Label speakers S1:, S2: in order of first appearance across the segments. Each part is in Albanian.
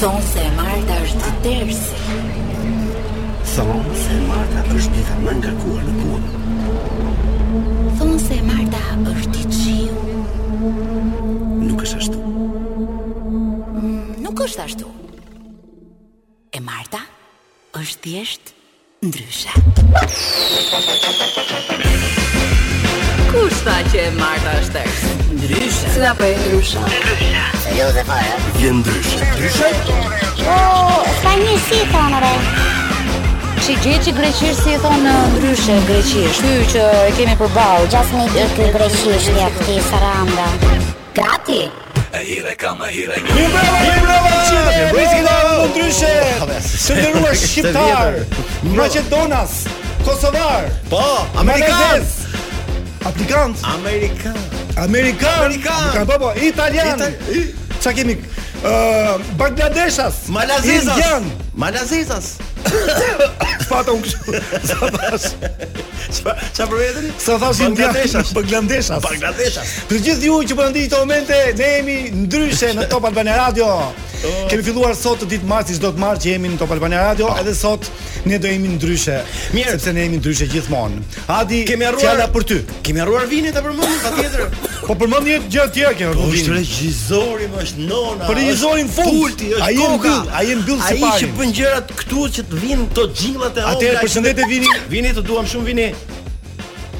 S1: Thonë se e Marta është tërsi.
S2: Thonë se Marta është dita më nga kuar në punë.
S1: Thonë se e Marta është i qiu.
S2: Nuk është ashtu.
S1: Nuk është ashtu. E Marta është thjesht ndryshe. Kush tha që e Marta është tërsi? Ndryshe. Si na po e ndryshe?
S2: Je ndryshe. Ndryshe?
S3: Ska një si thonë re
S4: Që gjë që greqisht si e thonë në ndryshe greqisht. Ky që e kemi përballë.
S3: Gjas një ditë ky greqishtja këti saranda
S1: Gati.
S2: E hire kam, e hire
S5: Mirë mbrëma! Mirë mbrëma! ndryshe! Të nderuar shqiptar, maqedonas, kosovar,
S6: Po, amerikan.
S5: malezes, aplikant,
S6: Amerikan.
S5: amerikan,
S6: Amerikan.
S5: po po, italian.
S6: Itali- i-
S5: Çka kemi? Ë, Bangladeshas,
S6: Malazezas.
S5: Indian.
S6: Malazezas.
S5: Fata unë kështu. Sa thash?
S6: Çfarë çfarë për vetën?
S5: Sa thash indian?
S6: Bangladeshas.
S5: Bangladeshas.
S6: Bangladeshas.
S5: Për gjithë ju që po ndini këto momente, ne jemi ndryshe në Top Albania Radio. Kemi filluar sot ditë martë, çdo të martë që jemi në Top Albania Radio, edhe sot ne do jemi ndryshe.
S6: Mirë.
S5: sepse ne jemi ndryshe gjithmonë. Adi,
S6: Kemi harruar-
S5: fjala për ty.
S6: Kemi harruar vinin ta përmendim patjetër.
S5: Po përmend një gjë tjetër që
S6: Po
S5: do
S6: është
S5: vini.
S6: regjizori, më është nona.
S5: Po regjizori në fund.
S6: është Pulti, është
S5: Ai e
S6: koka.
S5: mbyll- ai e mbyll si
S6: Ai që
S5: parin.
S6: bën gjërat këtu që të vinë to xhillat e
S5: Atëherë,
S6: hopla,
S5: përshëndetje,
S6: që-
S5: Vini.
S6: Vini të duam shumë vini.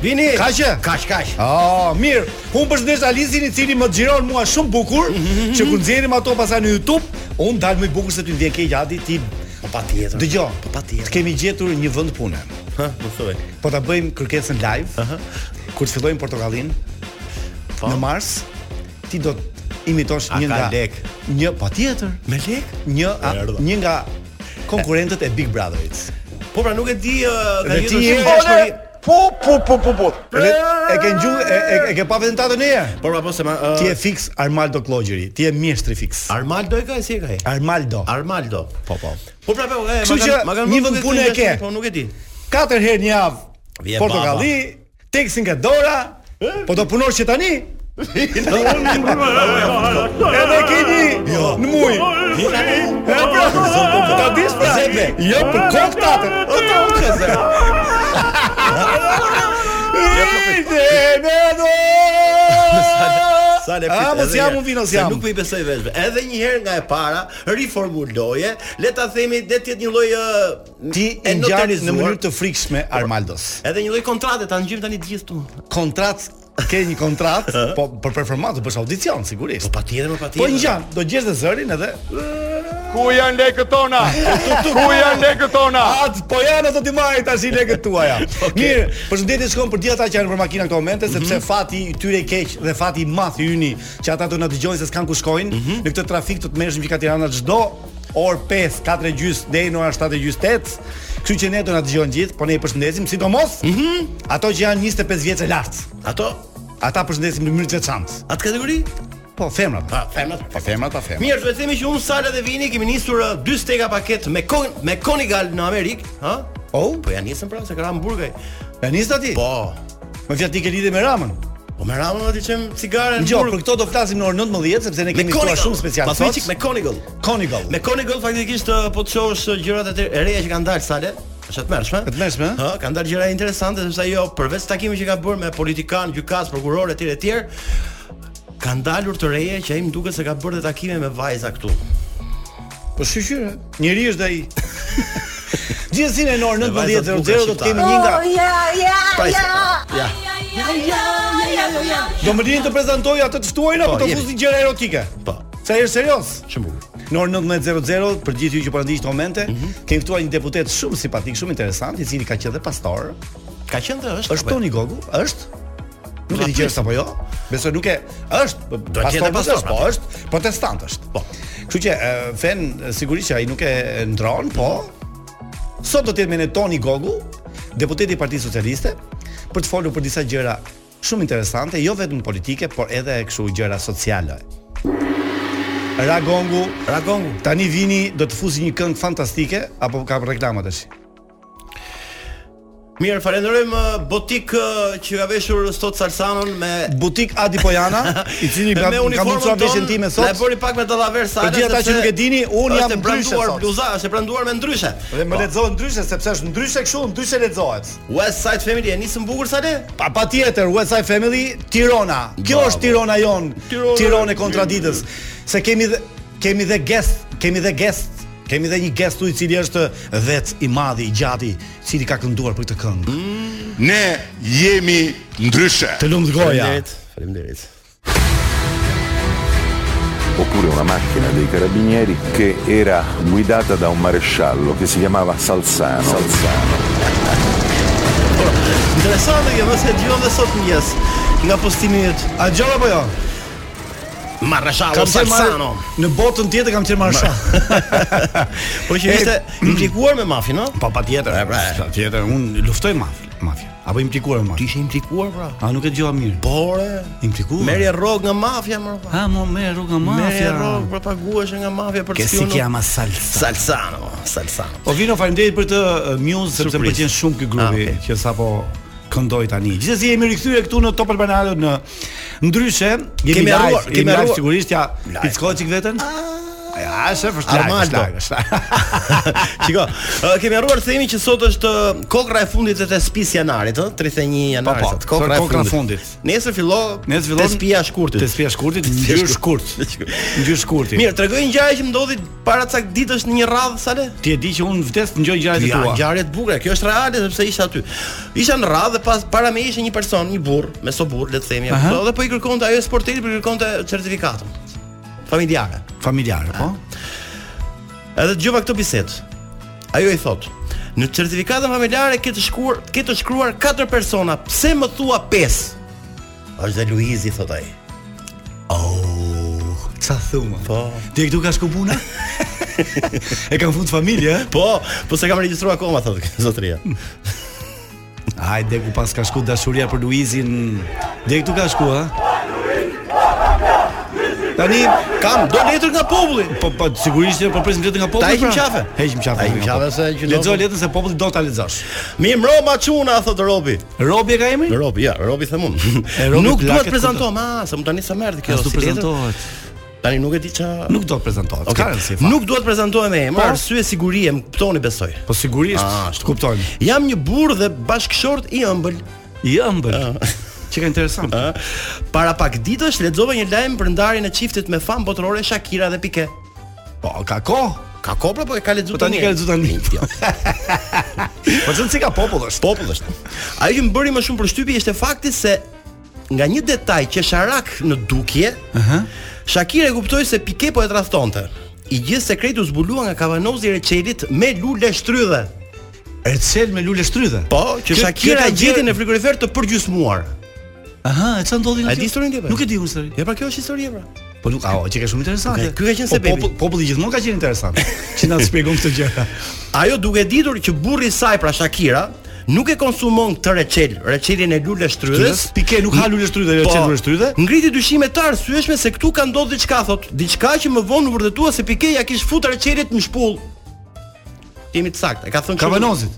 S6: Vini.
S5: Ka që?
S6: Kaq, kaq.
S5: Ah, mirë. Unë përshëndes Alisin i cili më xhiron mua shumë bukur, që kur nxjerrim ato pasaj në YouTube, unë dal më i bukur se ty vjen keq Adi, ti
S6: Po patjetër.
S5: dëgjoj.
S6: Po patjetër.
S5: Të kemi gjetur një vend pune.
S6: Ha, më thuaj.
S5: Po ta bëjmë kërkesën live. Kur të fillojmë portokallin
S6: Po.
S5: në mars, ti do të imitosh
S6: A
S5: një
S6: ka
S5: nga
S6: lek?
S5: një patjetër,
S6: Me lek?
S5: një a,
S6: Erdha.
S5: një nga konkurrentët e Big Brotherit.
S6: Po pra nuk e di ë, ka
S5: Dhe
S6: gjetur
S5: ti
S6: shumë
S5: je-
S6: nga historia.
S7: Po, po, po, po, po.
S5: Dhe e ke ngjuar e, e, e ke pa vetëm tatën e je.
S6: Por apo Po pra, se ma ë,
S5: Ti je fiks Armaldo Klogjeri, ti je mjeshtri fiks.
S6: Armaldo e ka e si e ka e?
S5: Armaldo.
S6: Armaldo.
S5: Po po.
S6: Po pra po, e,
S5: Kështu
S6: ma
S5: që
S6: kanë- ma kanë
S5: një
S6: vënë
S5: vend
S6: këtë
S5: pune e ke.
S6: Po nuk e di.
S5: Katër herë në javë.
S6: Vje
S5: Portokalli, teksi nga dora, po do punosh që tani? Edhe ke një në muj. E pra, po ta dish pra.
S6: Zepe.
S5: Jo për kokë tatën.
S6: O ta u keze.
S5: Jo, Ide me do.
S6: Sa le
S5: A, mos jam unë vino, s'jam.
S6: Nuk po i besoj vetëm. Edhe një herë nga e para riformuloje, le ta themi le të jetë një lloj ë,
S5: Ti
S6: e
S5: e ngjan në
S6: notarizuar.
S5: mënyrë të frikshme Armaldos.
S6: Edhe një lloj kontrate ta ngjim tani të gjithë tu.
S5: Kontrat ke një kontrat, po për performancë bësh audicion sigurisht.
S6: Patjetër, po patjetër.
S5: Po ngjan, do gjesh dhe zërin edhe
S7: Ku janë lekët tona? Ku janë lekët tona?
S5: At, po janë ato ti marrin tash i legët tuaja. Mirë, përshëndetje shkon për gjithë ata që janë për makina këto momente sepse fati i tyre i keq dhe fati i madh i yni që ata do na dëgjojnë se s'kan ku shkojnë në këtë trafik të tmerrshëm që ka Tirana çdo orë 5, 4 gjys deri në orën 7 gjys 8. Kështu që ne do na dëgjojnë gjithë, po ne i përshëndesim sidomos ato që janë 25 vjeç e lart.
S6: Ato
S5: Ata përshëndesim në mënyrë të veçantë.
S6: atë kategori?
S5: Po femrat.
S6: Pa, femrat.
S5: Po femrat, pa femrat.
S6: Mirë, duhet të themi që unë Sala dhe Vini kemi nisur uh, dy steka paket me kon me Konigal në Amerikë, ha?
S5: Oh,
S6: Po ja nisëm pra se ka Hamburgaj.
S5: e nis aty?
S6: Po.
S5: Me fjalë ti ke lidhje me Ramën.
S6: Po me Ramon do të çem cigare në
S5: Jo, për
S6: Hamburg.
S5: këto do flasim në orën 19 sepse ne kemi ftuar shumë special
S6: Pas
S5: sot.
S6: me Konigal.
S5: Konigal.
S6: Me Konigal faktikisht uh, po të shohësh uh, gjërat e të- e reja që kanë dalë Sale. Është e të mërshme.
S5: E tmerrshme, ë?
S6: Ë, kanë dalë gjëra interesante sepse ajo përveç takimeve që ka bërë me politikanë, gjykatë, prokurorë etj etj, kanë dalur të reja që ai më duket se ka bërë dhe takime me vajza këtu.
S5: Po shqyqyre, njëri është ai. Gjithsine në orën
S6: Me vajzat
S5: 19:00
S6: bukura
S5: do të kemi
S6: shqiptare.
S5: një nga
S6: Pra, Oh, ja.
S5: do më lini të prezantoj atë të ftuarin apo
S6: Po,
S5: të
S6: jepi.
S5: fusi gjëra erotike.
S6: Po.
S5: Sa herë serioz.
S6: Shumë bukur.
S5: Në orën 19:00 për gjithë ju që po na ndiqni këto momente,
S6: Mhm.
S5: kemi ftuar një deputet shumë simpatik, shumë interesant, i cili ka qenë dhe pastor.
S6: Ka qenë dhe është.
S5: Është
S6: apo jo? e?
S5: Toni Gogu? Është? Nuk e di
S6: Na
S5: gjëra apo jo? Besoj nuk e është.
S6: Do të jetë pastor,
S5: po
S6: atë.
S5: është protestant është.
S6: Po.
S5: Kështu që e, fen e, sigurisht që ai nuk e e ndron, po sot do të jetë me ne Toni Gogu, deputeti i Partisë Socialiste, për të folur për disa gjëra shumë interesante, jo vetëm politike, por edhe kështu gjëra sociale. Ragongu,
S6: Ragongu.
S5: tani vini do të fusi një këngë fantastike apo ka reklama tash?
S6: Mirë, falenderojmë uh, Botik uh, që ka veshur sot Salsanon me
S5: Butik Adi Pojana, i cili pra- ka
S6: me
S5: ka
S6: uniformën po-
S5: mundsuar veshjen time sot.
S6: Na e bëri pak me dallaver sa.
S5: Për gjithë ata që nuk e dini, unë jam ndryshe sot.
S6: bluza, është e branduar me ndryshe. Po,
S5: Dhe më lexohet ndryshe sepse është ndryshe kështu, ndryshe lexohet.
S6: West Side Family e nisën bukur sa le?
S5: Pa pa tjetër, Westside Family, Tirana. Kjo është Tirana jon,
S6: Tirana.
S5: Tirana e kontraditës. Se kemi dhe, kemi dhe guest, kemi dhe guest, kemi dhe një guest u i cili është vet i madhi, i gjati, i cili ka kënduar për këtë këngë. Mm.
S7: Ne jemi ndryshe.
S5: Të lumt goja.
S6: Faleminderit.
S8: oppure Po una macchina dei carabinieri che era guidata da un maresciallo che si chiamava Salzano. Salzano.
S6: Interesante që mos e dëgjova dhe sot mëngjes nga postimi i yt.
S5: A gjova apo jo?
S6: Marrashalo
S5: qenë marr-
S6: Salsano.
S5: Në botën tjetër kam qenë marshall.
S6: Po që ishte implikuar me mafin, no? Po patjetër. E pra.
S5: Sa tjetër unë luftoj mafin, mafia. Apo implikuar me
S6: Ti
S5: mafin.
S6: ishe implikuar pra.
S5: A nuk e dëgjova mirë.
S6: Bore.
S5: Implikuar.
S6: Merje rrog nga mafia, më rrog.
S5: Ha, mo merr rruga
S6: Merje
S5: mafia.
S6: rrog, pra paguhesh nga mafia për
S5: Che si
S6: spionu.
S5: chiama salsa.
S6: Salsano, Salsano.
S5: Po vino faleminderit për të uh, Muse sepse
S6: Surprizë.
S5: më pëlqen shumë ky
S6: Ah,
S5: grupi
S6: okay.
S5: që sapo këndoj tani. Gjithsesi jemi rikthyer këtu në Top Albana Radio në ndryshe jemi
S6: Kemi
S5: live,
S6: harruar,
S5: jemi
S6: kemi
S5: live
S6: harruar.
S5: sigurisht ja
S6: Live. Ah,
S5: pickoj çik veten. Ja, shef është live,
S6: Armando.
S5: është live, është live.
S6: Shiko, ë, kemi harruar të themi që sot është ë, kokra e fundit e të spis janarit, ë, 31 janar
S5: Po, po,
S6: sot.
S5: sot kokra e fundit.
S6: Nesër fillo
S5: Ne të fillon
S6: të spia shkurtit.
S5: Te spia shkurtit,
S6: spia
S5: ngjyrë shkurt. Ngjyrë shkurti.
S6: Mirë, tregoj një ngjarje që ndodhi para cak ditësh në një radhë sa le?
S5: ti e di që unë vdes të ngjoj gjërat e
S6: Ja,
S5: tua.
S6: ngjarje të bukura. Kjo është reale sepse isha aty. Isha në radhë dhe pas para me ishte një person, një burr, me soburr, le të themi,
S5: Aha.
S6: apo dhe po i kërkonte ajo sportit, po i kërkonte certifikatën familjare.
S5: familjare, po?
S6: Edhe dëgjova këtë bisedë. Ajo i thot: "Në certifikatën familjare ke të shkruar, ke të shkruar katër persona. Pse më thua 5?" Është dhe Luizi thot ai. Ah.
S5: Oh, ça thuma. Po.
S6: Po.
S5: Ti e këtu ka shku puna? e kam fund familje? eh?
S6: Po, po se kam regjistruar akoma thot zotëria.
S5: Hajde ku pas ka shku dashuria për Luizin. Dhe këtu ka shku, ha? Tani
S6: Kam do letër nga populli.
S5: po po sigurisht që po presim letën nga
S6: Ta
S5: populli.
S6: heqim qafe.
S5: Heqim qafe.
S6: Ta heqim qafe se që do-
S5: lexoj letën se populli do ta lexosh.
S6: Mi mbroma çuna thot Robi.
S5: Robi e ka emrin?
S6: Robi, ja, Robi them unë.
S5: E, Robi
S6: nuk duhet
S5: plaket
S6: të prezantohem, ah, se më tani sa merr kjo.
S5: As du
S6: si letër.
S5: prezantohet.
S6: Tani nuk e di ç'a.
S5: Nuk do të prezantohet.
S6: Okej.
S5: Ka rëndësi fakt.
S6: Nuk duhet prezantohem me emër,
S5: Po.
S6: arsye sigurie, më kuptoni besoj.
S5: po sigurisht,
S6: Ah,
S5: të kuptojmë.
S6: Jam një burr dhe bashkëshort i ëmbël.
S5: I ëmbël.
S6: Ah.
S5: Çka interesant.
S6: Ë, Para pak ditësh lexova një lajm për ndarjen e çiftit me fam botërore Shakira dhe Piqué.
S5: Po ka kohë.
S6: Ka kopra po e ka lexuar
S5: Po tani ka lexuar tani.
S6: jo.
S5: Po çon si ka popull është.
S6: Popull është. Ajo që më bëri më shumë përshtypje ishte fakti se nga një detaj që sharak në dukje,
S5: Aha.
S6: Shakira e kuptoi se Piqué po e tradhtonte. I gjithë sekreti u zbulua nga Kavanozi i Recelit me lule shtrydhe.
S5: Ercel me lule shtrydhe.
S6: Po, që
S5: Kjo-
S6: Shakira
S5: kjo
S6: e
S5: ka
S6: gjeti
S5: gjë-
S6: në frigorifer të përgjysmuar.
S5: Aha, e çan ndodhi nga
S6: A
S5: kjo?
S6: di historinë ti, po?
S5: Nuk e di unë historinë.
S6: Ja pra kjo është historia pra.
S5: Po nuk, ajo që ka shumë interesante.
S6: Okej, ky ka qenë
S5: Po,
S6: sebebi.
S5: popull- Populli gjithmonë ka qenë interesant. Që na shpjegon këtë gjëra.
S6: Ajo duke ditur që burri i saj pra Shakira nuk e konsumon këtë recel, recelin e lule shtrydhës. Po,
S5: Shtrydhës? Pike, nuk ha lule shtrydhe, recel lule shtrydhe?
S6: Ngriti dyshime të arsyeshme se këtu ka ndodhur diçka thot, diçka që më vonë u vërtetua se Pike ja kish futur recelit në shpull. Jemi të saktë, e ka thënë kështu.
S5: Kavanozit.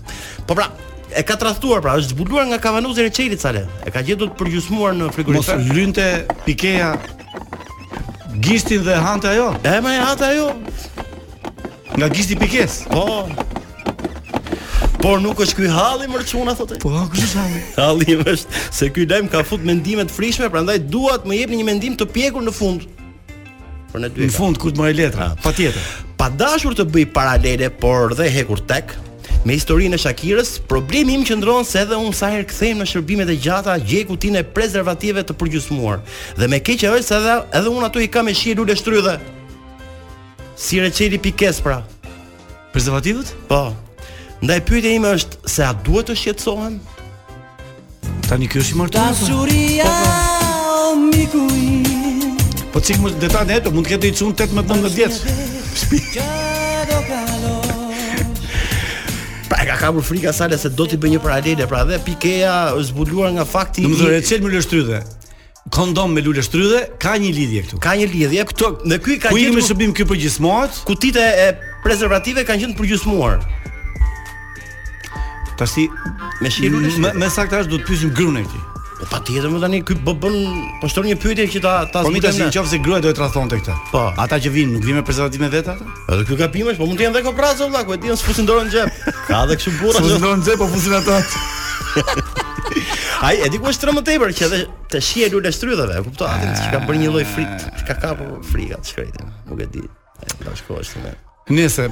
S6: Po pra, e ka tradhtuar pra, është zbuluar nga kavanozi i recelit sale. E ka gjetur të përgjysmuar në
S5: Mos
S6: frigorifer.
S5: lynte Pikeja gishtin dhe hante ajo,
S6: E më e hata ajo.
S5: nga gishti Pikes.
S6: Po. Por nuk është ky halli më çuna thotë.
S5: Po, kush është ai?
S6: Halli im është se ky lajm ka fut mendime të frikshme, prandaj dua të më jepni një mendim të pjekur në fund. Por në dy. e
S5: Në
S6: ka.
S5: fund kur të mori
S6: Ah.
S5: letra, patjetër.
S6: Pa dashur të bëj paralele, por dhe hekur tek me historinë e Shakirës, problemi im qëndron se edhe unë sa herë kthehem në shërbimet e gjata, gjej kutinë e prezervative të përgjysmuar. Dhe me keq e është se edhe edhe unë ato i kam me shi lule shtrydhe. Si receli pikes pra.
S5: Prezervativët?
S6: Po. Ndaj pyetja ime është se a duhet të shqetësohem?
S5: Tani ky është i martuar. Dashuria miku im. Po çik më detaj ne, mund të ketë i çun 18 19 vjeç.
S6: Pra e ka kapur frika sale se do t'i bëj një paralele, pra dhe pikeja është zbuluar nga fakti
S5: Domethënë
S6: i-
S5: recel me lule shtrydhe. Kondom me lule shtrydhe ka një lidhje këtu.
S6: ka një lidhje. Këto dhe ky ka
S5: Ku jemi
S6: gjetur
S5: me shërbim ky përgjysmohet?
S6: kutit e e prezervative kanë qenë përgjysmuar.
S5: Tash si
S6: Me shiru le
S5: më
S6: shiru.
S5: më saktë do të pyesim gruan e këtij.
S6: Po patjetër më tani ky po bën po shton një pyetje që ta ta
S5: Po mi tash
S6: ne.
S5: nëse gruaja do të rrethonte këtë.
S6: Po.
S5: Ata që vinë nuk vinë me prezervativ me vetë ata?
S6: Edhe ky gabim është, po mund të jenë dhe koprazë vëlla, ku e diun s'fusin dorën në xhep. Ka edhe kështu burra. që-
S5: ndonë xhe po fusin ata.
S6: Ai e di ku është më tepër që edhe të shije lule shtrydheve, e kuptoj atë që ka bërë një lloj frit, çka ka po frika të shkrejtë. Nuk e di. E, Do shkohesh ti më.
S5: Nëse,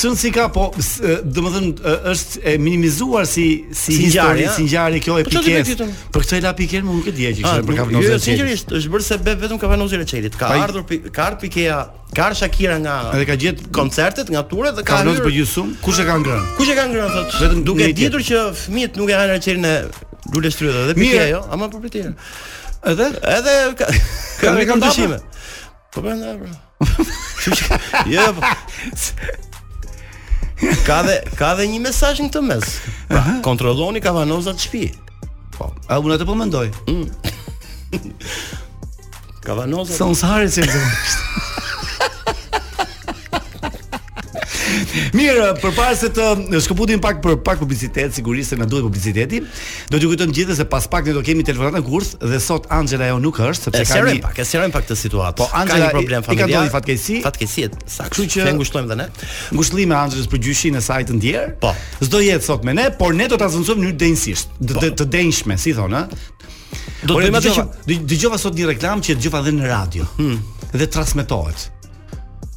S5: çon si ka, po s- e, domethënë e, është e minimizuar si si,
S6: Si
S5: histori,
S6: ngjarje, a?
S5: si ngjarje kjo e
S6: Po çfarë ti me
S5: pikes.
S6: titën?
S5: Për këtë e la piken më nuk e dija që
S6: Ah,
S5: kishte për
S6: nuk-
S5: kapnozën.
S6: jo, sinqerisht, është bërë se be vetëm kavanozi i Recelit. Ka
S5: Pa i-
S6: ardhur pi- ka ardhur Pikea, ka ardhur Shakira nga
S5: Edhe ka gjetë
S6: koncertet, nga turet dhe ka
S5: kapnozë për
S6: hyrë.
S5: gjysmë, kush e ka ngrënë?
S6: Kush e ka ngrënë thotë?
S5: Vetëm
S6: duke
S5: ne i
S6: ditur që fëmijët nuk e hanë Recelin e lule shtrydheve dhe Pikea
S5: Mirë.
S6: jo, ama për pritin.
S5: Edhe
S6: Edhe ka
S5: Ka
S6: ka
S5: ne
S6: kam
S5: kam
S6: dyshime. Po brenda bra. Kështu që jo. po. Ka dhe ka dhe një mesazh në këtë mes. Pra, kontrolloni kavanozat në shtëpi.
S5: a unë atë po mendoj.
S6: Kavanozat.
S5: Sa unë s'hare që më Mirë, përpara se të shkëputim pak për pak publicitet, sigurisht se na duhet publiciteti. Do t'ju kujtojmë gjithë se pas pak ne do kemi telefonatën kurth dhe sot Angela jo nuk
S6: E
S5: është sepse ka
S6: serojm
S5: një
S6: pak, e serojm pak këtë situatë.
S5: Po,
S6: ka
S5: Angela,
S6: një problem
S5: i- i ka
S6: familjar.
S5: ndodhi fatkeqësi?
S6: Fatkeqësi, e saktë. Kështu
S5: Kështu
S6: që
S5: që-
S6: ne ngushtojmë dhe ne.
S5: ngushëllime Angelës për gjyshin e saj të ndjer.
S6: Po.
S5: S'do jetë sot me ne, por ne do ta zëvendësojmë në mënyrë denjësisht, të- të- të denjshme, si thonë, ë?
S6: Po. Do
S5: Por
S6: të
S5: e
S6: bëjmë atë që Hmm.
S5: dëgjova- dë- dëgjova sot një reklam që e dëgjova edhe në radio. Dhe transmetohet.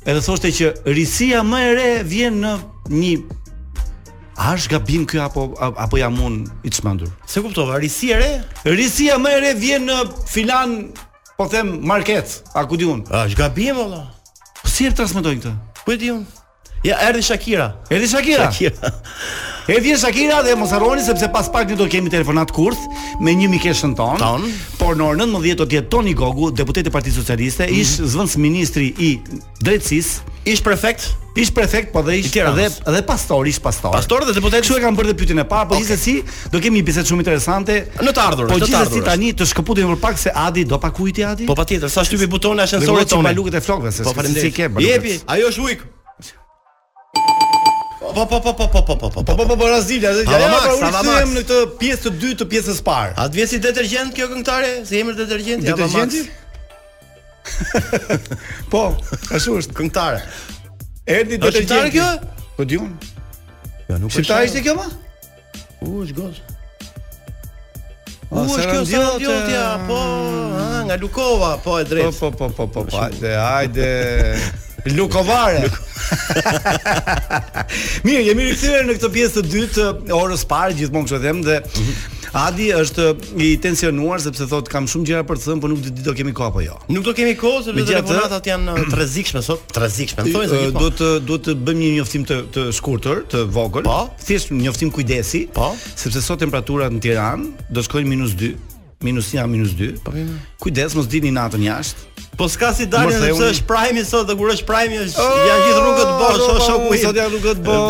S5: Edhe thoshte që risia më e re vjen në një A është gabim kjo apo a- apo jam unë i çmendur?
S6: se kuptova, risi e re,
S5: Risia më e re vjen në filan, po them market, a ku di unë.
S6: është gabim valla.
S5: Po si e transmetojnë këtë?
S6: Ku e di unë? Ja erdhi Shakira.
S5: Erdhi Shakira.
S6: Shakira.
S5: E vjen Shakira dhe mos harroni sepse pas pak ne do kemi telefonat kurth me një mikeshën ton,
S6: Ton.
S5: por në orën 19 do të jetë Toni Gogu, deputet e Partisë Socialiste,
S6: Mhm.
S5: ish zvendës ministri i drejtësisë,
S6: Ish prefekt,
S5: ish prefekt, po dhe ish
S6: I Tiranës.
S5: dhe dhe pastor, ish pastor.
S6: pastor dhe deputet.
S5: Kështu e kam bërë dhe pyetjen e parë, po gjithsesi do kemi një bisedë shumë interesante.
S6: Në të ardhurën,
S5: Po
S6: në të
S5: gjithsesi
S6: ardhurën.
S5: tani të shkëputim për pak se Adi do pa kujti Adi.
S6: Po patjetër, sa shtypi butoni
S5: Dhe
S6: ashensorit
S5: që
S6: tonë.
S5: balukët e flokëve, se
S6: Po
S5: s'ke- si
S6: faleminderit.
S5: ke balukët.
S6: Jepi, ajo është ujk. Po po po po po po po po.
S5: Po po po po Razili, ja
S6: Hava
S5: ja
S6: Max,
S5: pra unë
S6: Hava
S5: kthyem
S6: Max.
S5: në këtë pjesë të dytë të pjesës së parë.
S6: A të vjen si detergjent kjo këngëtare? Se emër detergjent? Ja, po, Max.
S5: Detergjenti? po, ashtu është.
S6: Këngëtare.
S5: Erdi
S6: Është shqiptare
S5: detergjenti.
S6: kjo?
S5: Po di unë.
S6: Jo, nuk
S5: Shqiptare ishte kjo më?
S6: U, është gosh. U,
S5: A,
S6: është kjo
S5: Serandiote.
S6: Serandiotia, po, a, nga Lukova, po e
S5: Po
S6: drejtë.
S5: po po po po po. Hajde, hajde. Lukovare. Mirë, jemi rikthyer në këtë pjesë të dytë të orës parë, gjithmonë kështu e them dhe Adi është i tensionuar sepse thotë kam shumë gjëra për të thënë, por nuk di do kemi kohë apo jo.
S6: Nuk do kemi kohë sepse
S5: Megjithatë-
S6: telefonatat janë uh, të rrezikshme sot, të rrezikshme. Thonë se po.
S5: Ë, eh? do të do të bëjmë një njoftim të të shkurtër, të vogël.
S6: Po.
S5: Thjesht një njoftim kujdesi.
S6: Po.
S5: Sepse sot temperaturat në Tiranë do shkojnë minus 2, minus 1, minus 2. Po. Kujdes mos dilni natën jashtë.
S6: Po s'ka si dalin
S5: Mos e
S6: sepse
S5: unë-
S6: është prajmi sot dhe kur është prajmi është janë gjithë rrugët bosh, o
S5: rroba
S6: shoku
S5: unë,
S6: im.
S5: sot janë rrugët
S6: bosh,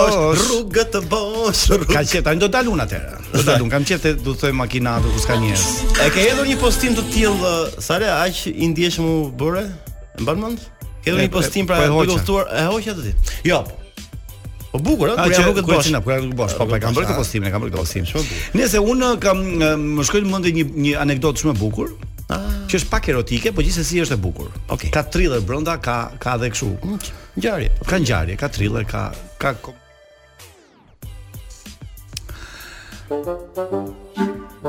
S5: bosh.
S6: rrugët të bosh. rrugët-
S5: Ka qenë tani do dalun atëherë. Do dalun, kam qenë te do të thoj makinatë ku s'ka njerëz.
S6: E ke hedhur një postim të tillë, uh, Sare, aq i ndjeshëm u bëre? E mban mend? Ke hedhur
S5: E,
S6: një postim
S5: e,
S6: pra
S5: po e
S6: duke
S5: hoqa.
S6: uftuar, e hoqja të ditë. Jo. Po bukur, ëh,
S5: A
S6: kur
S5: që
S6: janë rrugët
S5: ku e
S6: bosh. Po,
S5: qenë, ku janë rrugët bosh. Po po, e kam bërë këtë postim, e kam bërë këtë postim. Nëse unë kam e, më shkoi në mendje një një anekdotë shumë e bukur, që është pak erotike, po gjithsesi është e bukur.
S6: Okej.
S5: Ka thriller brenda, ka ka edhe kështu.
S6: Ngjarje.
S5: Ka ngjarje, ka thriller, ka ka kom-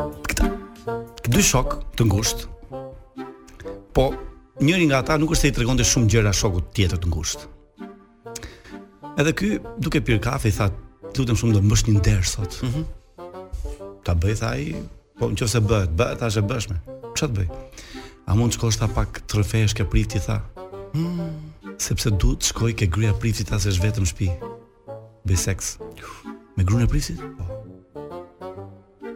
S5: Këta dy shok të ngushtë. Po njëri nga ata nuk është se i tregonte shumë gjëra shokut tjetër të ngushtë. Edhe ky duke pirë kafe i tha, "Lutem shumë do të mbësh një nder sot." Mhm. ta bëj tha ai, po nëse bëhet, bëhet, tash e bëshme. Ç'të bëj? A mund të shkosh tha pak të rrëfesh ke prifti tha sepse du të shkoj ke gruaja e priftit ta se është vetëm në shtëpi. Bëj seks. Me gruan e priftit? Po.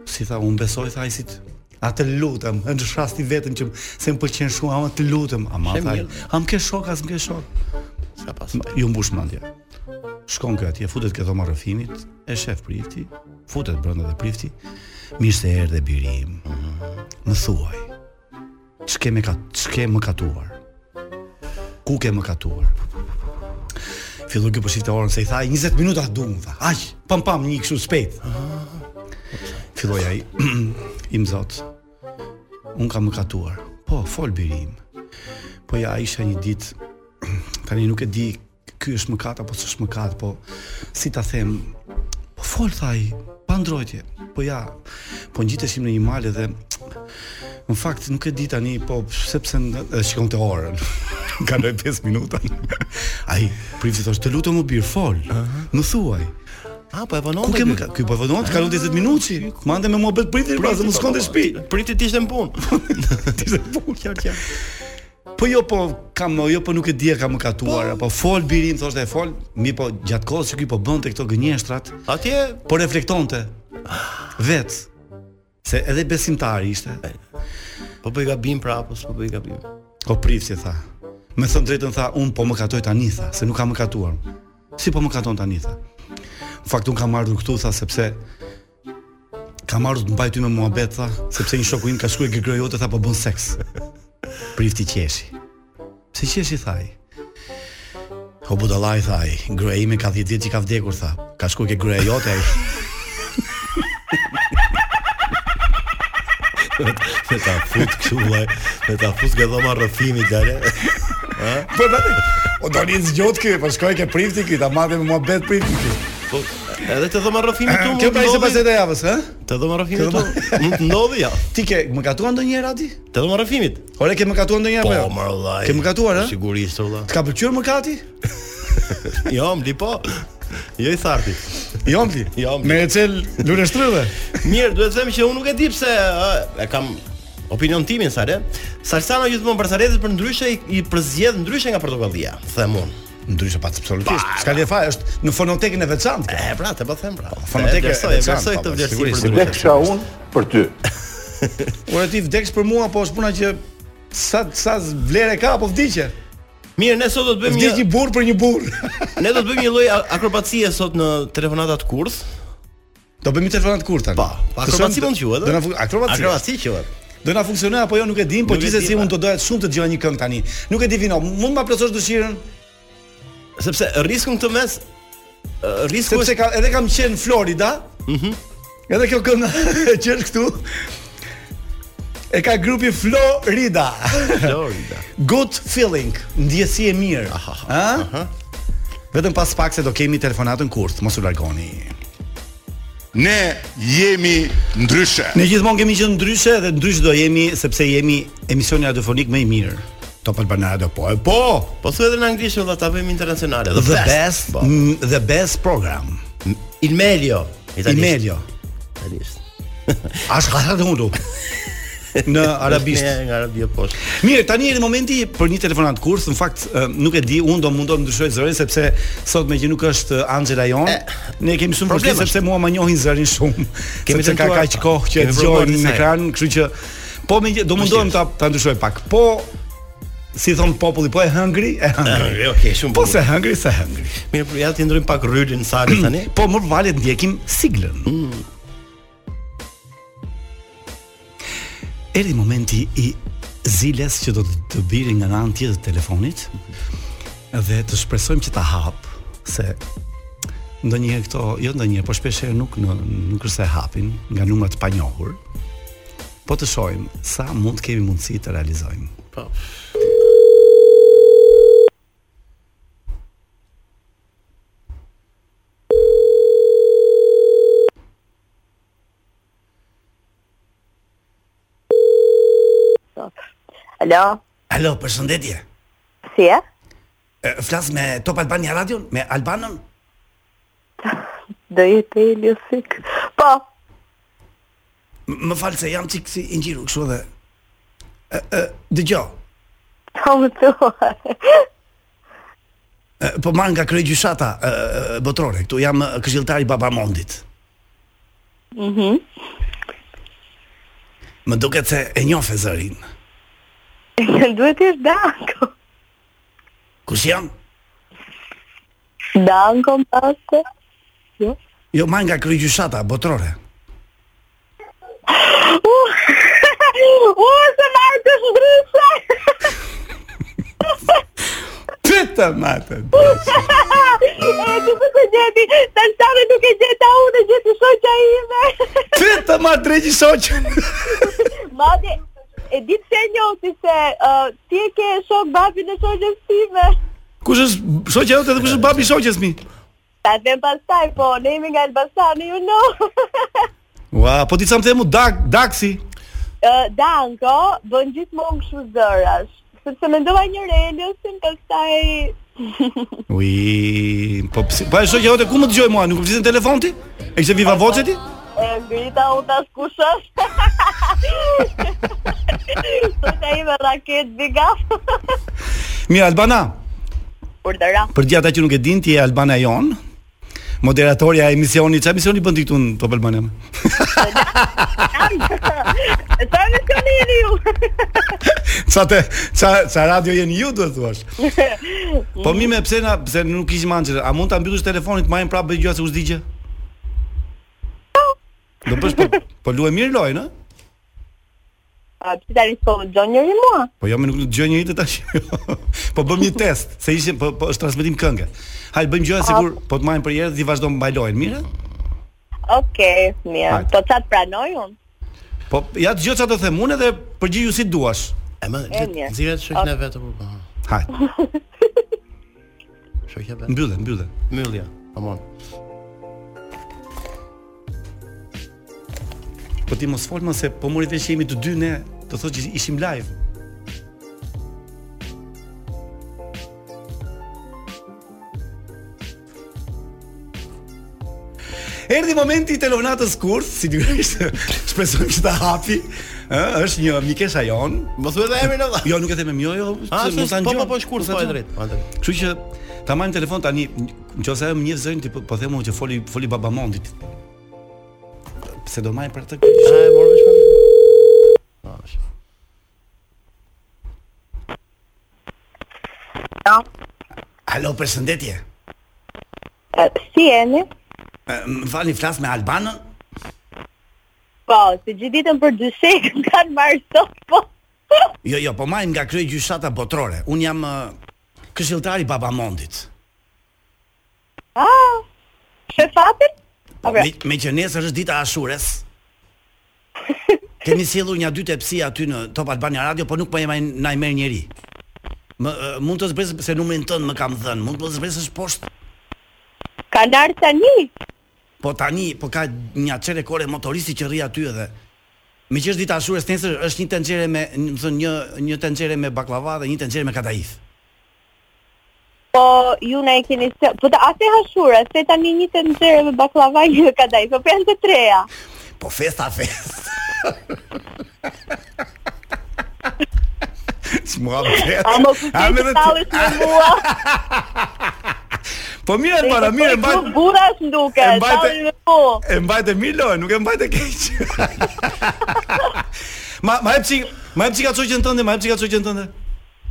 S5: Si tha, unë besoj tha ai si të- A të lutem, në shrasti vetëm që m- se më pëlqen shumë, ama të lutem, ama tha. ai, A më ke shok, as më ke shok.
S6: Ska pas.
S5: Ju mbush mendja. Shkon kë atje, futet ke dhoma rrëfimit, e shef prifti, futet brenda dhe prifti. Mirë se erdhe biri im. Më thuaj. Ç'ke më ka, ç'ke më katuar? Ku ke më katuar? Fillu kjo po shifte orën se i tha 20 minuta dum, tha. Aq, pam pam një kështu spejt. Filloi ai, im zot. Un kam mëkatuar. Po, fol biri im. Po ja isha një ditë tani nuk e di ky është mëkat apo s'është mëkat, po si ta them. Po fol tha ai, pa ndrojtje. Po ja, po ngjiteshim në një mal edhe Në fakt nuk e di tani, po sepse në- e shikonte orën. Kaloi 5 minuta. Ai prifti thoshte, "Të lutem u bir, fol." Më thuaj.
S6: A po e vonon.
S5: Ku ke më ka? Ky po vonon, të kalon 10 minutë. Mande me mua bet prifti, pra se mos shkonte në shtëpi.
S6: Priti ti ishte në punë.
S5: Ishte punë qartë qartë. Po jo po kam jo po nuk e di e kam katuar, po, po fol birim thoshte e fol, mi po gjatë kohës që ky po bënte këto gënjeshtrat,
S6: Atje
S5: po reflektonte vet se edhe besimtari ishte.
S6: po bëj gabim prapë, po bëj gabim.
S5: O prifti tha. Me thënë drejtën tha, un po më katoj tani tha, se nuk kam më katuar. Si po më katon tani tha. Në fakt un kam ardhur këtu tha sepse kam ardhur të mbaj ty me muhabet tha, sepse një shoku im ka shkuar gërgroj jote tha po bën seks. Prifti qeshi. Pse qeshi tha ai? O budallaj tha ai, gruaja ime ka 10 vjet që ka vdekur tha. Ka shkuar ke gruaja jote ai.
S6: Me ta fut kështu vllai, me ta fut nga dhoma rrëfimi dale.
S5: Po tani, o tani zgjot ky, po shkoj ke prifti ky, ta madhe me muhabet prifti ky.
S6: Po edhe te dhoma rrëfimi tu.
S5: Kjo
S6: mund
S5: pra ishte
S6: ndodhi-
S5: pas e pra- javës, ha?
S6: Te dhoma rrëfimi
S5: Te
S6: tu. Mund të ndodhi ja.
S5: Ti ke më katuar ndonjëherë Adi?
S6: Te dhoma rrëfimit.
S5: Ore ke mëkatuar ndonjëherë
S6: Po
S5: apo jo?
S6: më vllai.
S5: Ke mëkatuar, ha?
S6: Sigurisht vllai.
S5: Të ka pëlqyer mëkati?
S6: Jo, mli po. Jo i tharti.
S5: Jo mbi.
S6: Jo, mbi.
S5: Me e cel lule shtrydhe.
S6: Mirë, duhet të them që unë nuk e di pse ë, e kam opinion timin sa le. Salsano gjithmonë për Saretit për ndryshe i, i përzgjedh ndryshe nga portokallia, them unë.
S5: Ndryshe pa absolutisht. S'ka lë faj, është në fonotekën e veçantë. kjo.
S6: E pra, të po them pra.
S5: fonoteka
S6: E vlerësoj, e
S5: e
S6: vlerësoj
S5: veçantë,
S6: këtë
S5: po,
S6: vlerësim
S5: sigurisht,
S6: për ndryshe.
S8: Deksha unë për ty.
S5: Ore ti vdeksh për mua, po është puna që sa sa vlerë ka apo vdiqe.
S6: Mirë, ne sot do të bëjmë
S5: Vdiq një
S6: një
S5: burr për një burr.
S6: ne do të bëjmë një lloj a- akrobacie sot në telefonatat kurth.
S5: Po, Do bëjmë një telefonat kurt tani.
S6: Pa, pa
S5: Të
S6: akrobaci
S5: shohim-
S6: mund quhet. ë?
S5: Do na fu- akrobaci.
S6: Akrobaci quhet.
S5: Do na funksionoj apo jo nuk e dim, po
S6: Nuk e di,
S5: gjithsesi
S6: pa.
S5: unë do doja shumë të dëgjoj një këngë tani. Nuk e di vino, mund ma plotësosh dëshirën?
S6: Sepse risku në këtë mes ë, risku është
S5: Sepse ka, edhe kam qenë në Florida. Mhm. edhe kjo kënga që është këtu e ka grupi Florida.
S6: Florida.
S5: Good feeling, ndjesi e mirë. Ëh? Vetëm pas pak se do kemi telefonatën kurth, mos u largoni.
S7: Ne jemi ndryshe.
S5: Ne gjithmonë kemi qenë ndryshe dhe ndryshe do jemi sepse jemi emisioni radiofonik më i mirë. Top Albana Radio po. e Po,
S6: Po thuaj edhe në anglisht valla ta bëjmë internacionale.
S5: the best,
S6: po.
S5: m- the best program.
S6: Il meglio. Italisht.
S5: Imelio.
S6: Italisht.
S5: Ash ghatat hundu. Në arabisht.
S6: Ne nga Arabia poshtë.
S5: Mirë, tani është momenti për një telefonat kurs, në fakt ë, nuk e di, unë do mundon të ndryshoj zërin sepse sot me që nuk është ë, Angela jon, ne kemi shumë
S6: problem
S5: problem sepse mua më njohin zërin shumë.
S6: Kemi
S5: Kemi sepse ka
S6: tentuar-
S5: kaq kohë që e
S6: kemi provuar
S5: dëgjojmë
S6: disa
S5: në
S6: herë.
S5: ekran, kështu që po me gjë- do mundohem ta ta ndryshoj pak. Po si thon populli, po e hëngri, e hëngri.
S6: Hëngri, okay, shumë
S5: Po
S6: bukur.
S5: se hëngri, se hëngri.
S6: Mirë, por ja ti ndrojm pak rylin saktë tani.
S5: Po më valet ndjekim siglën. Erdi momenti i ziles që do të të biri nga në anë tjetër të telefonit dhe të shpresojmë që ta hap se ndonjëherë këto, jo ndonjëherë, po shpesh herë nuk në, nuk është se e hapin nga numra të panjohur. Po të shohim sa mund kemi mundësi të realizojmë.
S6: Po.
S9: Alo,
S5: Alo, përshëndetje.
S9: si e?
S5: E, Flas me Top Albania Radio, me Albanën?
S9: Do jetë e ljusik. Po,
S5: M- Më falë se jam qikë si ingjiru kështu dhe Ë, ë, Dëgjo
S9: po më thua.
S5: ë, Po marrë nga krej gjyshata ë, ë, botrore Këtu jam ë, këshiltari babamondit Më duket se e njofe zërin
S9: Duhet të jesh danko.
S5: Kush jam?
S9: Danko më pasë.
S5: Jo marrë nga krej gjyshata botrore
S9: U, Uh, se marrë të shndryshe.
S5: Pyta matë
S9: E, ku ku se gjeti? Tantave nuk e gjeta unë, e gjeti shoqja ime.
S5: Ty të marr drejtë shoqën.
S9: Madje e ditë se e njoti se uh, ti e ke shok babin e shoqës time.
S5: Kush është shoqja jote dhe kush është babi i shoqes mi?
S9: Ta them pastaj, po ne jemi nga Elbasani, you know.
S5: Ua, po ti çam të mu dak, daksi.
S9: Ë, Danko bën gjithmonë kështu zërash, sepse mendova një reliosin pastaj
S5: Ui, po pse? Po e shoqja jote ku më dëgjoj mua? Nuk vjen telefon ti? E kishe viva voce ti?
S9: e ngrita u tash kush është. Sot ai me raket bigaf.
S5: Mirë Albana,
S9: Urdëra.
S5: për gjithë ata që nuk e dinë ti je Albana jon. Moderatorja e emisionit, çfarë emisioni bën ti këtu në Top Albania?
S9: Sa më shkoni ju?
S5: Sa te, ça ça radio jeni ju do të thuash. Po mi me pse na pse nuk ishim anxhë. A mund ta mbyllësh telefonin të marrim prapë bëj gjëra se u zgjigje? Do bësh po, po luaj mirë lojën, ë?
S9: A ti tani s'po më dëgjon njëri mua?
S5: Po jo, më nuk dëgjoj njëri të tash. po bëm një test, se ishim po, po është transmetim këngë. Hajde bëjmë gjëra sigur, po të marrim për herë dhe vazhdon mbaj lojën, mirë?
S9: Okej, mirë.
S5: Hajde.
S9: Po çat pranoj unë?
S5: Po ja dëgjoj çfarë do them unë edhe përgjigju si duash.
S6: E më
S9: E, mirë.
S6: nxirret shoqën e vetë po, apo? Aha.
S5: Hajde,
S6: Shoqja e vetë.
S5: mbyllen, mbyllen.
S6: Mbyllja. Tamam.
S5: Po ti mos fol më se po mori vesh që jemi të dy ne, të thotë që ishim live. Erdi momenti i telefonatës kurth, si sigurisht shpresojmë që ta hapi. Ë, është një mikesha jon.
S6: Mos thuaj dhe emrin atë.
S5: Jo, nuk e them me jo, jo,
S6: A,
S5: se mos ta
S6: po
S5: ngjon.
S6: po po shkurt
S5: Mos ta
S6: po e
S5: ngjon.
S6: drejt. Po e drejt.
S5: Kështu që ta marrim telefon tani, nëse ajo më njeh zërin ti po- po them unë që foli foli babamondit. Pse do marrim për atë?
S6: A e morë vesh pak? A, vesh.
S5: Alo, përshëndetje.
S9: E, Si jeni?
S5: E, Më falni flas me Albanën?
S9: Po, si gjithë ditën për dy shekë më kanë marrë sot, po.
S5: Jo, jo, po marrim nga krye gjyshata botrore. Un jam ë, këshilltari i Babamondit.
S9: Ah, shefatin?
S5: Po,
S9: Ore.
S5: me, me që nesër është dita e Ashures. Kemi sjellur një dy tepsi aty në Top Albania Radio, po nuk po jemi na i merr njeri. Më ë, mund të zbres se numrin tënd më kam dhënë, mund të zbresësh poshtë.
S9: Kanë ardhë tani?
S5: Po tani po ka një çere kore motoristi që rri aty edhe Me që është dita e Ashures nesër është një tenxhere me, në- më thënë një një tenxhere me baklava dhe një tenxhere me kataif.
S9: Po, ju na e keni se... Po, ta, ase hashura, se tani një të nëzere me baklava një ka daj, po janë të treja.
S5: Po festa fest. S'mua
S9: A
S5: vetë.
S9: më kuptoj të talësh me mua,
S5: Po mirë e para, mirë e
S9: po
S5: mbajt.
S9: bura është nduke,
S5: E mbajte-
S9: talësh me mua.
S5: E mbajt e mirë lojë, nuk e mbajt e keq. ma ma hep çik, ma hep çik atë çoqën tënde, ma hep çik atë çoqën tënde.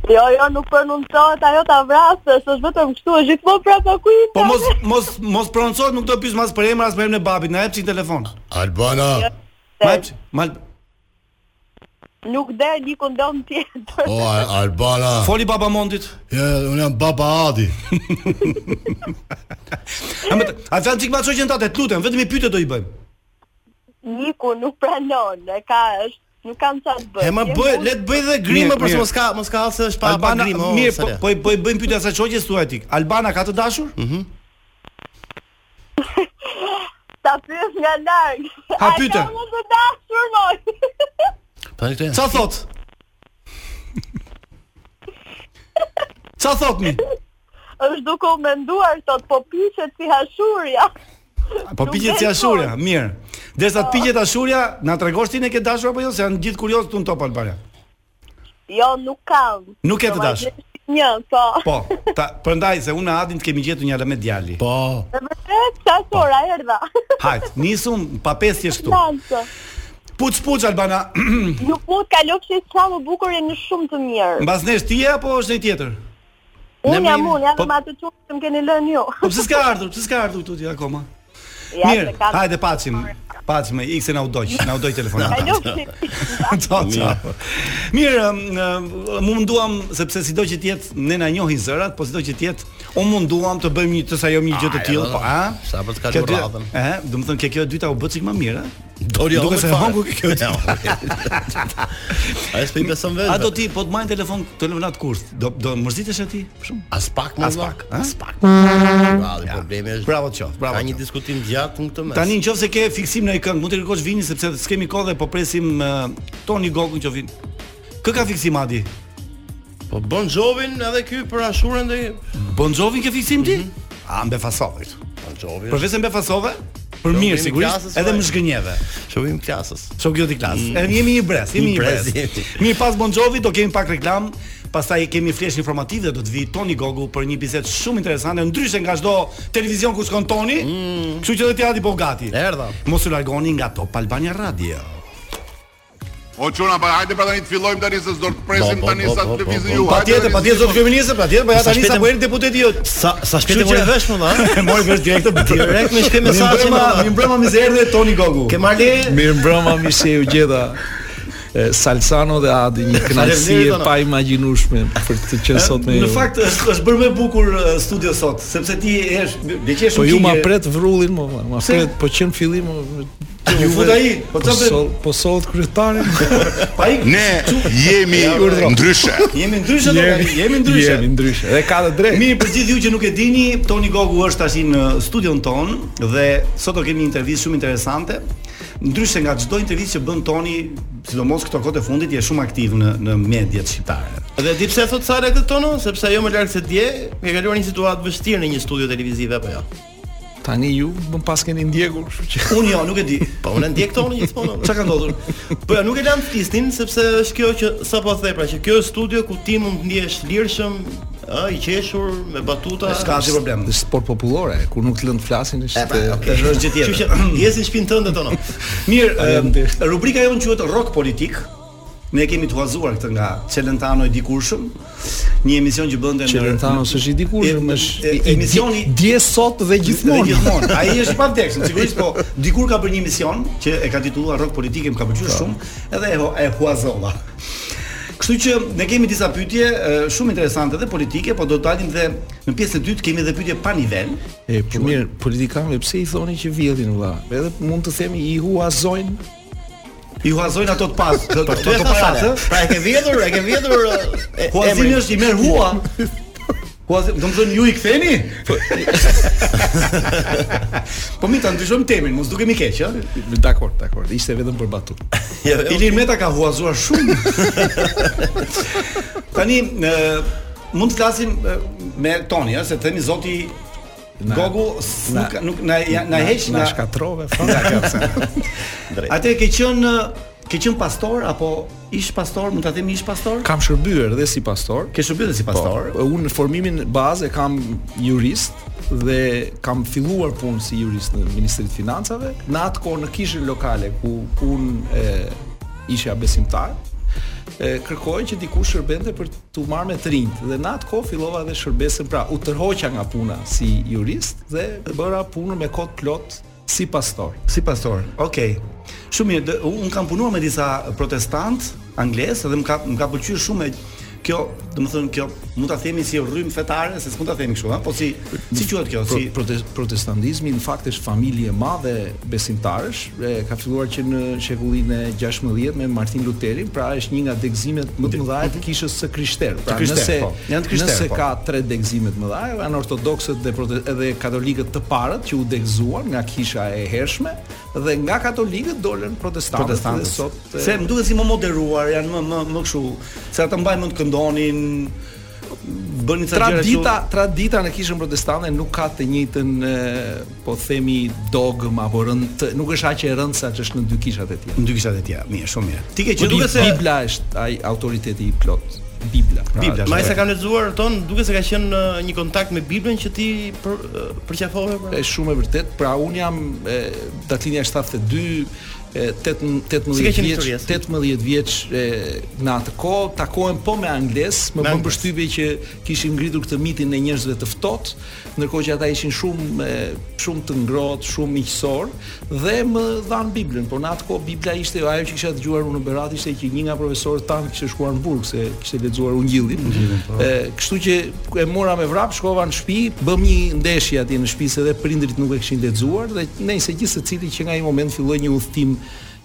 S9: Jo, jo, nuk përnumësohet, ajo ta vrasës, është vetëm kështu, është gjithmonë prapa ku i
S5: Po mos mos mos prononcohet, nuk do pyes mas për emrin as për emrin e babit, na hep çik telefon.
S6: Albana.
S10: Jo.
S5: Ma hep çik, ma
S9: Nuk dhe një kondom tjetër.
S6: O Al- Albana.
S5: foli baba mondit.
S6: Ja, unë jam Baba Adi.
S5: A më a fal çik ma çoqën tatë, të lutem, vetëm i pyetje do i bëjmë.
S9: Niku nuk pranon, e ka është nuk kam çfarë të bëj.
S6: E më
S9: Jem
S6: bëj,
S9: unë-
S6: le të bëj dhe grimë
S5: Mirë,
S6: për se
S5: mirë.
S6: mos ka mos ka se është pa pa
S5: Albana,
S6: grimë. o,
S5: mirë,
S6: se
S5: po
S6: le.
S5: po i- po i bëjmë pyetja sa çoqës tuaj tik. Albana ka të dashur?
S9: ta pyes nga larg.
S5: Ha, pyte.
S9: A ka më të dashur moj.
S6: Tani këtë.
S5: Ça thot? Ça thot mi?
S9: është duke u menduar sot, po piqet si hashurja.
S5: Po piqet si Ashurja, mirë. Derisa
S9: Po.
S5: të piqet Ashurja, na tregosh ti ne ke dashur apo jo, se janë gjithë kurioz këtu në Top Albania.
S9: Jo, nuk kam.
S5: Nuk e të
S9: Do ma
S5: dashur.
S9: gjesh Një, po.
S5: Po, ta, prandaj se unë në Adin të kemi gjetur një element djali.
S6: Po.
S9: E vërtet, sa sora erdha.
S5: Hajt, nisum pa pesë këtu.
S9: Lancë.
S5: Puç puç Albana.
S9: Nuk mund ka lopshi sa më bukur e në shumë të mirë.
S5: Mbas nesh ti je apo është një tjetër?
S9: Unë
S6: Ne
S9: jam
S6: me-
S9: unë, jam
S5: po-
S9: atë çunë që më keni lënë ju.
S5: Po pse s'ka ardhur? Pse s'ka ardhur këtu ti akoma?
S9: Ja,
S5: Mirë,
S9: se kam-
S5: hajde pacim. Pacim, ikse na u doq, na u doq telefoni. Ciao, ciao. Mirë, ëm, ëm, mu munduam sepse sido që të jetë ne na njohin zërat, po sido që të jetë unë munduam të bëjmë një të sajojmë një gjë të
S6: Ajde,
S5: tillë, po
S6: valla,
S5: a?
S6: sa për të kaluar
S5: Kjo dy-
S6: radhën.
S5: Ëh, do të thonë që kjo e dyta u bë çik më mirë, a?
S6: Dori
S5: Duke se hongu ke kjo.
S6: A s'po i beson vetë.
S5: A do ti po të marrin telefon telefonat kurs? Do do mërzitesh aty për shkak?
S6: as pak më
S5: As pak,
S6: valla.
S5: a?
S6: as pak. Bravo, problemi është.
S5: Bravo të qoftë, bravo
S6: Ka
S5: të
S6: një
S5: qoftë.
S6: diskutim gjatë në këtë mes.
S5: Tani nëse ke fiksim në një këngë, mund të kërkosh vini sepse s'kemi kohë dhe po presim uh, Toni Gokun që vin. Kë ka fiksim Adi?
S6: po Bon Jovin edhe ky për Ashurën dhe
S5: Bon Jovin ke fiksim ti?
S6: Mhm.
S5: A mbefasove këtu.
S6: Bon Jovi.
S5: Për vetëm mbefasove? Për
S6: Shoku
S5: mirë
S6: im i klasës,
S5: sigurisht, edhe
S6: vaj.
S5: më zhgënjeve.
S6: Shohim klasës.
S5: Shoku jot i klasë. Mm. Jemi një brez, jemi
S6: Një
S5: një brez.
S6: brez jemi.
S5: Mirë pas Bon Jovi do kemi pak reklam, pastaj kemi flesh informativ dhe do të vi Toni Gogu për një bisedë shumë interesante, ndryshe nga çdo televizion ku shkon Toni. Kështu që do të hadi po gati.
S6: Erdha.
S5: Mos u largoni nga Top Albania Radio.
S7: O çuna, pa hajde pra tani të fillojmë tani se do të
S6: Bo,
S7: presim
S6: bo,
S7: tani
S6: bo,
S7: sa
S6: bo, bo,
S7: të lëvizin
S6: bo.
S7: ju. Hajde,
S5: Patjetër,
S7: tani,
S5: patjetër zot kryeministër, patjetër, po ja
S6: Sa
S5: tani sa
S6: shpejtë-
S5: po erdhi deputeti jot.
S6: Sa sa shpejt e
S5: Kështu
S6: morë
S5: që-
S6: vesh më dha.
S5: E mori vesh direkt këtë botë.
S6: Direkt me shkrim mesazhi më
S5: Mi
S6: dha.
S5: mbrëma mi se erdhi Toni Gogu.
S6: Ke marrë le?
S11: Mirë mbrëma mi se u gjeda e, Salsano dhe Adi Një kënaqësi
S6: Faleminderit,
S11: e
S6: Ana.
S11: pa imagjinueshme Për të qenë sot me
S5: Në
S11: ju
S5: fakt është është bërë më bukur eh, studio sot, sepse ti je dëgjesh
S11: Po ju ma pret vrullin më valla, Ma pret po qenë fillim më-
S5: Ju fut ai, po
S11: Po
S5: çfarë bën?
S11: sol- Po sollt kryetari
S5: Pa ik.
S7: Ne jemi ndryshe.
S5: Jemi ndryshe do jemi ndryshe.
S11: Jemi ndryshe Dhe ka të drejtë
S5: Mirë për gjithë ju që nuk e dini, Toni Gogu është tash në studion ton dhe sot do kemi një intervistë shumë interesante. Ndryshe nga çdo intervistë që bën Toni, sidomos këto kohë të fundit, je shumë aktiv në në mediat shqiptare.
S6: Dhe di pse thot Sara këtë tonë, sepse ajo më lart se dje ka kaluar një situatë vështirë në një studio televizive apo jo.
S11: Tani ju më pas keni ndjekur Kështu që
S5: Unë jo, nuk e di.
S6: Po unë e ndjek tonë gjithmonë. Çka ka ndodhur? Po ja, nuk e lam flisnin sepse është kjo që sapo the pra që kjo është studio ku ti mund të ndihesh lirshëm, ë i qeshur me batuta.
S5: S'ka asnjë problem.
S11: Është sport popullore Kur nuk të lënë të flasin është
S5: Është gjë tjetër.
S6: Kështu që jesi në shtëpinë tënde tonë.
S5: Mirë,
S11: Faleminderit.
S5: em, rubrika jonë quhet Rock Politik. Ne e kemi të huazuar këtë nga Celentano i dikurshëm, një emision që bënte në
S11: Çelentano s'është i dikurshëm,
S5: E-
S11: është
S5: e-
S11: i- i-
S5: emisioni-
S11: dje sot dhe
S5: Gjithmonë,
S11: gjithmonë.
S5: gjithmonë. Ai është pa vdekshëm, sigurisht, po dikur ka bërë një mision që e ka titulluar Rock Politike, më ka pëlqyer
S6: Po.
S5: shumë, edhe e, ho- e huazova. Kështu që ne kemi disa pyetje e, shumë interesante dhe politike, po do të dalim dhe në pjesën e dytë kemi edhe pyetje pa nivel.
S11: E, po mirë, politikanëve pse i thoni që vjedhin vëlla? Edhe mund të themi i huazojnë.
S5: I huazojnë ato të pas, të
S6: Ty
S5: të, të,
S6: Po, e
S5: të
S6: tha
S5: para,
S6: Sara.
S5: të.
S6: Pra e ke vjedhur, e ke vjedhur. ë, e-
S5: Huazimi
S6: emrin.
S5: është i merr hua. Huazim, do të thonë ju i ktheni? po mi ta ndryshojmë temën, mos dukemi keq, ëh.
S11: Dakor, dakor. Ishte vetëm për batut.
S6: Jo, jo.
S5: Ilir Meta ka huazuar shumë. Tani e, mund të flasim e, me Toni, ëh, se themi zoti Gogu s-
S11: na-
S5: nuk nuk na ja- na heq
S11: na
S5: na.
S11: shkatrove fare.
S5: Atë ke qenë ke qenë pastor apo ish pastor, mund ta themi ish pastor?
S11: Kam shërbyer dhe si pastor.
S5: Ke shërbyer si pastor?
S11: Po, unë në formimin bazë e kam jurist dhe kam filluar punë si jurist në Ministrinë e Financave. Në atë kohë në kishën lokale ku ku unë e, isha besimtar, e, kërkoj që dikush shërbente për t'u marrë me të rinjt dhe në atë kohë fillova dhe shërbesën pra u tërhoqa nga puna si jurist dhe bëra punën me kod plot si pastor.
S5: Si pastor. Okej. Shumë mirë, dë- un kam punuar me disa protestant anglesë dhe më ka më ka pëlqyer shumë e kjo, domethënë kjo mund ta themi si rrym fetare, se s'mund ta themi kështu, ha, po si si quhet kjo?
S11: Pro,
S5: Si
S11: protes, protestantizmi në fakt është familje e madhe besimtarësh, e, ka filluar që në shekullin e 16 me Martin Lutherin, pra është një nga degëzimet më të mëdha të kishës së krishterë. Pra
S5: Mhm. krishterë,
S11: nëse
S5: po. Janë të krishterë,
S11: nëse
S5: po.
S11: ka tre degëzime të mëdha, janë ortodoksët dhe prote, edhe katolikët të parët që u degëzuan nga kisha e hershme dhe nga katolikët dolën protestantët,
S5: protestantët.
S11: dhe sot e,
S5: Se më duket si më moderuar, janë më më më kështu, se ata mbajnë mend këndonin bënin sa gjëra
S11: Tradita, tradita në kishën protestante nuk ka të njëjtën e, po themi dogm apo rënd, të- nuk është aq e rëndë sa që është në dy kishat e tjera.
S5: në dy po kishat e tjera. Mirë, shumë mirë. Ti ke
S11: Që
S5: që duket se
S11: Bibla është ai autoriteti i plot. Bibla. Pra,
S5: Bibla.
S6: Ma sa kam lexuar ton, duket se ka qenë ë, një kontakt me Biblën që ti për përqafove pra.
S11: Është shumë e vërtet, pra un jam e, datlinja 72 e, tetë- 18
S6: Si ka qenë
S11: vjeç,
S6: historia, si?
S11: 18 vjeç e, në atë kohë takohem po me angles,
S6: Me
S11: më bën
S6: angles.
S11: përshtypje që kishim ngritur këtë mitin e njerëzve të ftohtë, ndërkohë që ata ishin shumë e, shumë të ngrohtë, shumë miqësor dhe më dhan Biblën, por në atë kohë Bibla ishte jo ajo që kisha dëgjuar unë në Berat ishte që një nga profesorët tan kishte shkuar në burg se kishte lexuar Ungjillin. Ë, kështu që e mora me vrap, shkova në shtëpi, bëm një ndeshje atje në shtëpi se edhe prindrit nuk e kishin lexuar dhe nëse gjithë secili që nga ai moment filloi një udhtim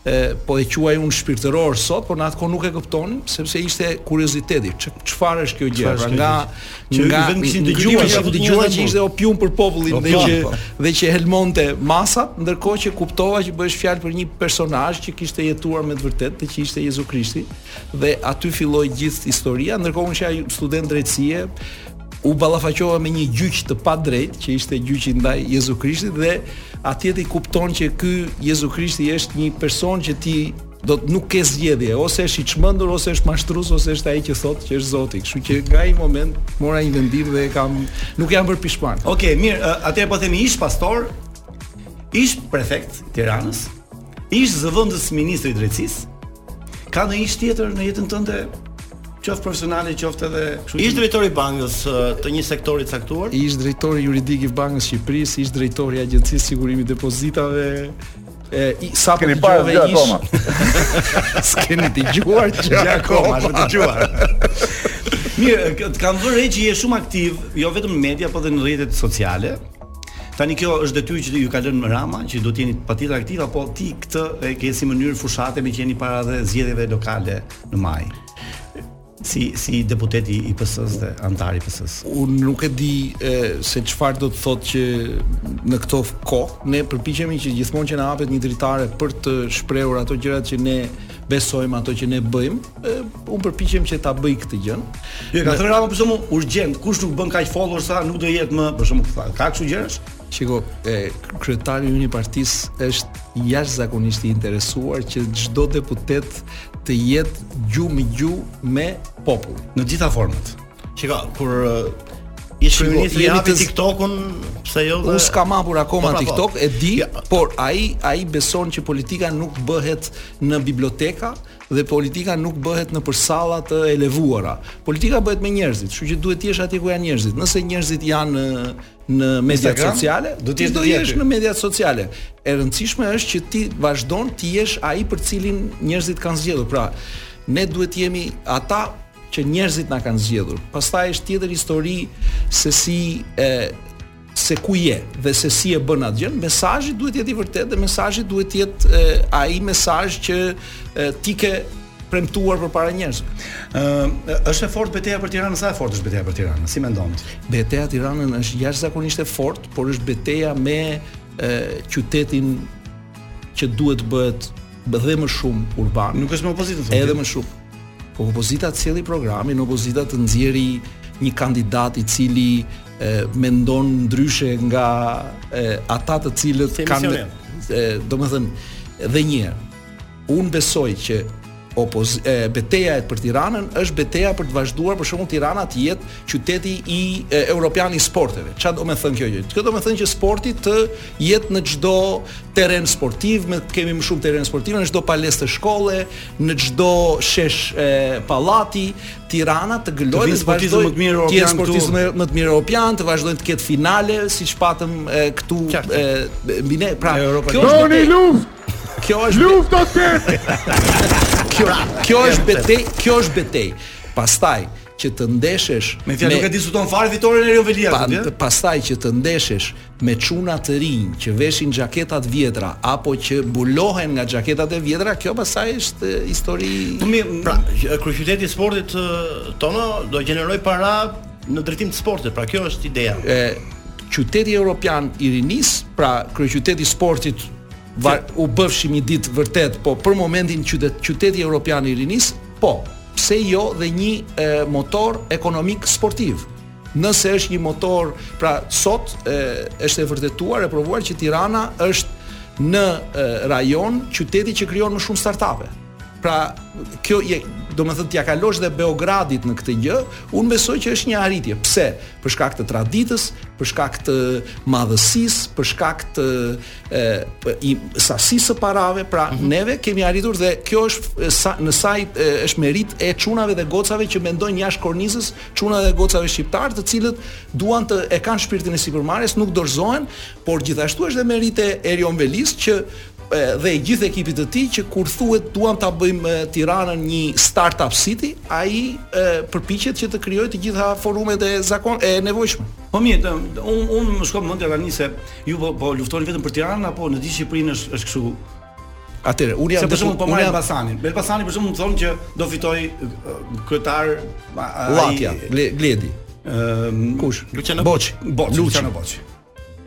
S11: e, po e quaj unë shpirtëror sot, por në atë kohë nuk e kuptonin sepse ishte kurioziteti. Ç- Çfarë është kjo gjë?
S6: Çfarë është
S11: Pra
S6: kjo
S11: nga
S6: gjë? Që
S11: nga
S6: në vend kishin
S11: nga-
S6: dëgjuar,
S11: kishin
S6: apo
S11: dëgjuar
S6: dëgjuar po.
S11: që ishte opium për popullin dhe
S6: Opium,
S11: që
S6: po.
S11: dhe që helmonte masat, ndërkohë që kuptova që bëhesh fjalë për një personazh që kishte jetuar me të vërtetë, dhe që ishte Jezu Krishti dhe aty filloi gjithë historia, ndërkohë unë isha student drejtësie, u ballafaqova me një gjyq të padrejtë që ishte gjyqi ndaj Jezu Krishtit dhe atje ti kupton që ky Jezu Krishti është një person që ti do të nuk ke zgjedhje, ose është i çmendur ose është mashtrues ose është ai që thotë që është Zoti. Kështu që nga ai moment mora një vendim dhe kam nuk jam bërë pishman.
S5: Okej, mirë, ë, atëherë po themi ish pastor, ish prefekt i Tiranës, ish zëvendës ministri i drejtësisë. Ka në ish tjetër në jetën tënde qoftë profesionale, qoftë edhe kështu që-
S6: Ish drejtori i bankës ë, të një sektori të caktuar.
S11: ish drejtori juridik i Bankës së Shqipërisë, ish drejtori i Agjencisë Sigurimit të Depozitave. E, i, sa po
S8: Keni
S11: të
S8: parë
S11: gjove
S8: gjë
S11: ish
S8: akoma?
S11: S'keni të gjuar që
S5: Ja koma, është të dëgjuar. Mirë, k- kam vënë re që je shumë aktiv, jo vetëm në media, por edhe në rrjetet sociale. Tani kjo është detyrë që ju ka lënë Rama, që do të jeni patjetër aktiv, apo ti këtë e ke si mënyrë fushate me që jeni para dhe zgjedhjeve lokale në maj. Si si deputeti i PS-s dhe antari i PS-s.
S11: unë nuk e di e, se çfarë do të thotë që në këto kohë ne përpiqemi që gjithmonë që na hapet një dritare për të shprehur ato gjërat që ne besojmë, ato që ne bëjmë, e, unë përpiqem që ta bëj këtë gjë.
S5: Jo, ka thënë Rama për shembull urgjent, kush nuk bën kaq followers sa nuk do jetë më, për shembull, tha, ka kështu gjërash?
S11: Shiko, e, kryetari i një partisë është jashtëzakonisht i interesuar që çdo deputet të jetë gjumë me gjumë me popull.
S5: Në gjitha format.
S6: Shiko, kur ë, ish
S11: Shiko,
S6: ministri
S11: jemi
S6: japi
S11: të z-
S6: TikTokun, pse jo? dhe-
S11: Unë s'kam hapur akoma
S6: Po, pra, po.
S11: TikTok, e di, por ai ai beson që politika nuk bëhet në biblioteka dhe politika nuk bëhet në përsalla të elevuara. Politika bëhet me njerëzit, kështu që duhet të jesh atje ku janë njerëzit. Nëse njerëzit janë në- në mediat
S5: Instagram?
S11: sociale,
S5: Do t'jesh
S11: ti do
S5: atje.
S11: jesh në mediat sociale. E rëndësishme është që ti vazhdon të jesh ai për cilin njerëzit kanë zgjedhur. Pra, ne duhet të jemi ata që njerëzit na kanë zgjedhur. Pastaj është tjetër histori se si e se ku je dhe se si e bën atë gjë, mesazhi duhet të jetë i vërtetë dhe mesazhi duhet të jetë e, ai mesazh që e, ti ke premtuar përpara njerëzve.
S5: Ëm, është e fortë betejë për Tiranën, sa e fortë është betejë për Tiranën? Si mendon ti?
S11: Beteja e Tiranën është jashtëzakonisht e fortë, por është beteja me e, qytetin që duhet bëhet dhe më shumë urban.
S5: Nuk është me opozitën. thonë
S11: Edhe
S5: ti.
S11: më shumë. Po opozita të cili programin, opozita të nxjerri një kandidat i cili e, mendon ndryshe nga e, ata të cilët
S6: Se
S11: kanë
S6: misioner.
S11: e, domethënë edhe një herë. Unë besoj që opoz e, beteja e për Tiranën është beteja për të vazhduar për shembull Tirana të jetë qyteti i e, europian i sporteve. Çfarë do të thënë kjo gjë? Kjo do të thënë që sporti të jetë në çdo terren sportiv, me kemi më shumë terren sportiv në çdo palestër shkolle, në çdo shesh e, pallati, Tirana të
S5: Të
S11: gëlojë
S5: vinë
S11: dhe të
S5: sportistët më
S11: vazhdojë
S5: të mirë europian këtu.
S11: të jetë sportistët më më të mirë europian, të vazhdojnë të ketë finale siç patëm e, këtu e, mbi ne. Pra, kjo është betejë. Kjo është luftë Kjo kjo është betej, kjo është betej. Pastaj që të ndeshesh
S5: Me fjalë nuk e diskuton fare fitoren e Riovelia.
S11: pa,
S5: Pa,
S11: pastaj që të ndeshesh me çuna të rinj që veshin xhaketat vjetra apo që mbulohen nga xhaketat e vjetra, kjo pastaj është e, histori
S6: Pra, që- kryeqyteti i sportit ë, tono do gjeneroj para në drejtim të sportit. Pra kjo është ideja.
S11: e qyteti evropian i rinis, pra kryeqyteti i sportit va, u bëfshim një ditë vërtet, po për momentin qytet qyteti evropian i rinis, po, pse jo dhe një e, motor ekonomik sportiv. Nëse është një motor, pra sot e, është e vërtetuar e provuar që Tirana është në e, rajon qyteti që krijon më shumë startupe. Pra, kjo je, do me thëtë t'ja kalosh dhe Beogradit në këtë gjë, unë besoj që është një arritje. Pse? Për shkak të traditës, për shkak të madhësisë, për shkak të e, për- i sasisë së parave, pra neve kemi arritur dhe kjo është e, sa, në sajt e, është merit e çunave dhe gocave që mendojnë jashtë kornizës, çunave dhe gocave shqiptar, të cilët duan të e kanë shpirtin e sipërmarrjes, nuk dorëzohen, por gjithashtu është dhe merit e Erion Velis që e, dhe i gjithë ekipit të tij që kur thuhet duam ta bëjmë e, Tiranën një startup city, ai e, përpiqet që të krijojë të gjitha forumet e zakon e nevojshme.
S5: Po mirë, të- un un më shkon mendja tani se ju po, po luftoni vetëm për Tiranën apo në gjithë Shqipërinë është është kështu.
S11: Atëre, unë jam
S5: Se për
S11: deput-
S5: shembull po
S11: unë
S5: marr
S11: jam-
S5: Elbasanin. Elbasani për shembull më thonë që do fitoj ë, kryetar a- a- ai-
S11: Llatia, Gle- Gledi.
S5: Ëm
S11: kush?
S5: Luciano
S11: Boçi.
S5: Boçi,
S11: Luçi.
S5: Luciano Boçi.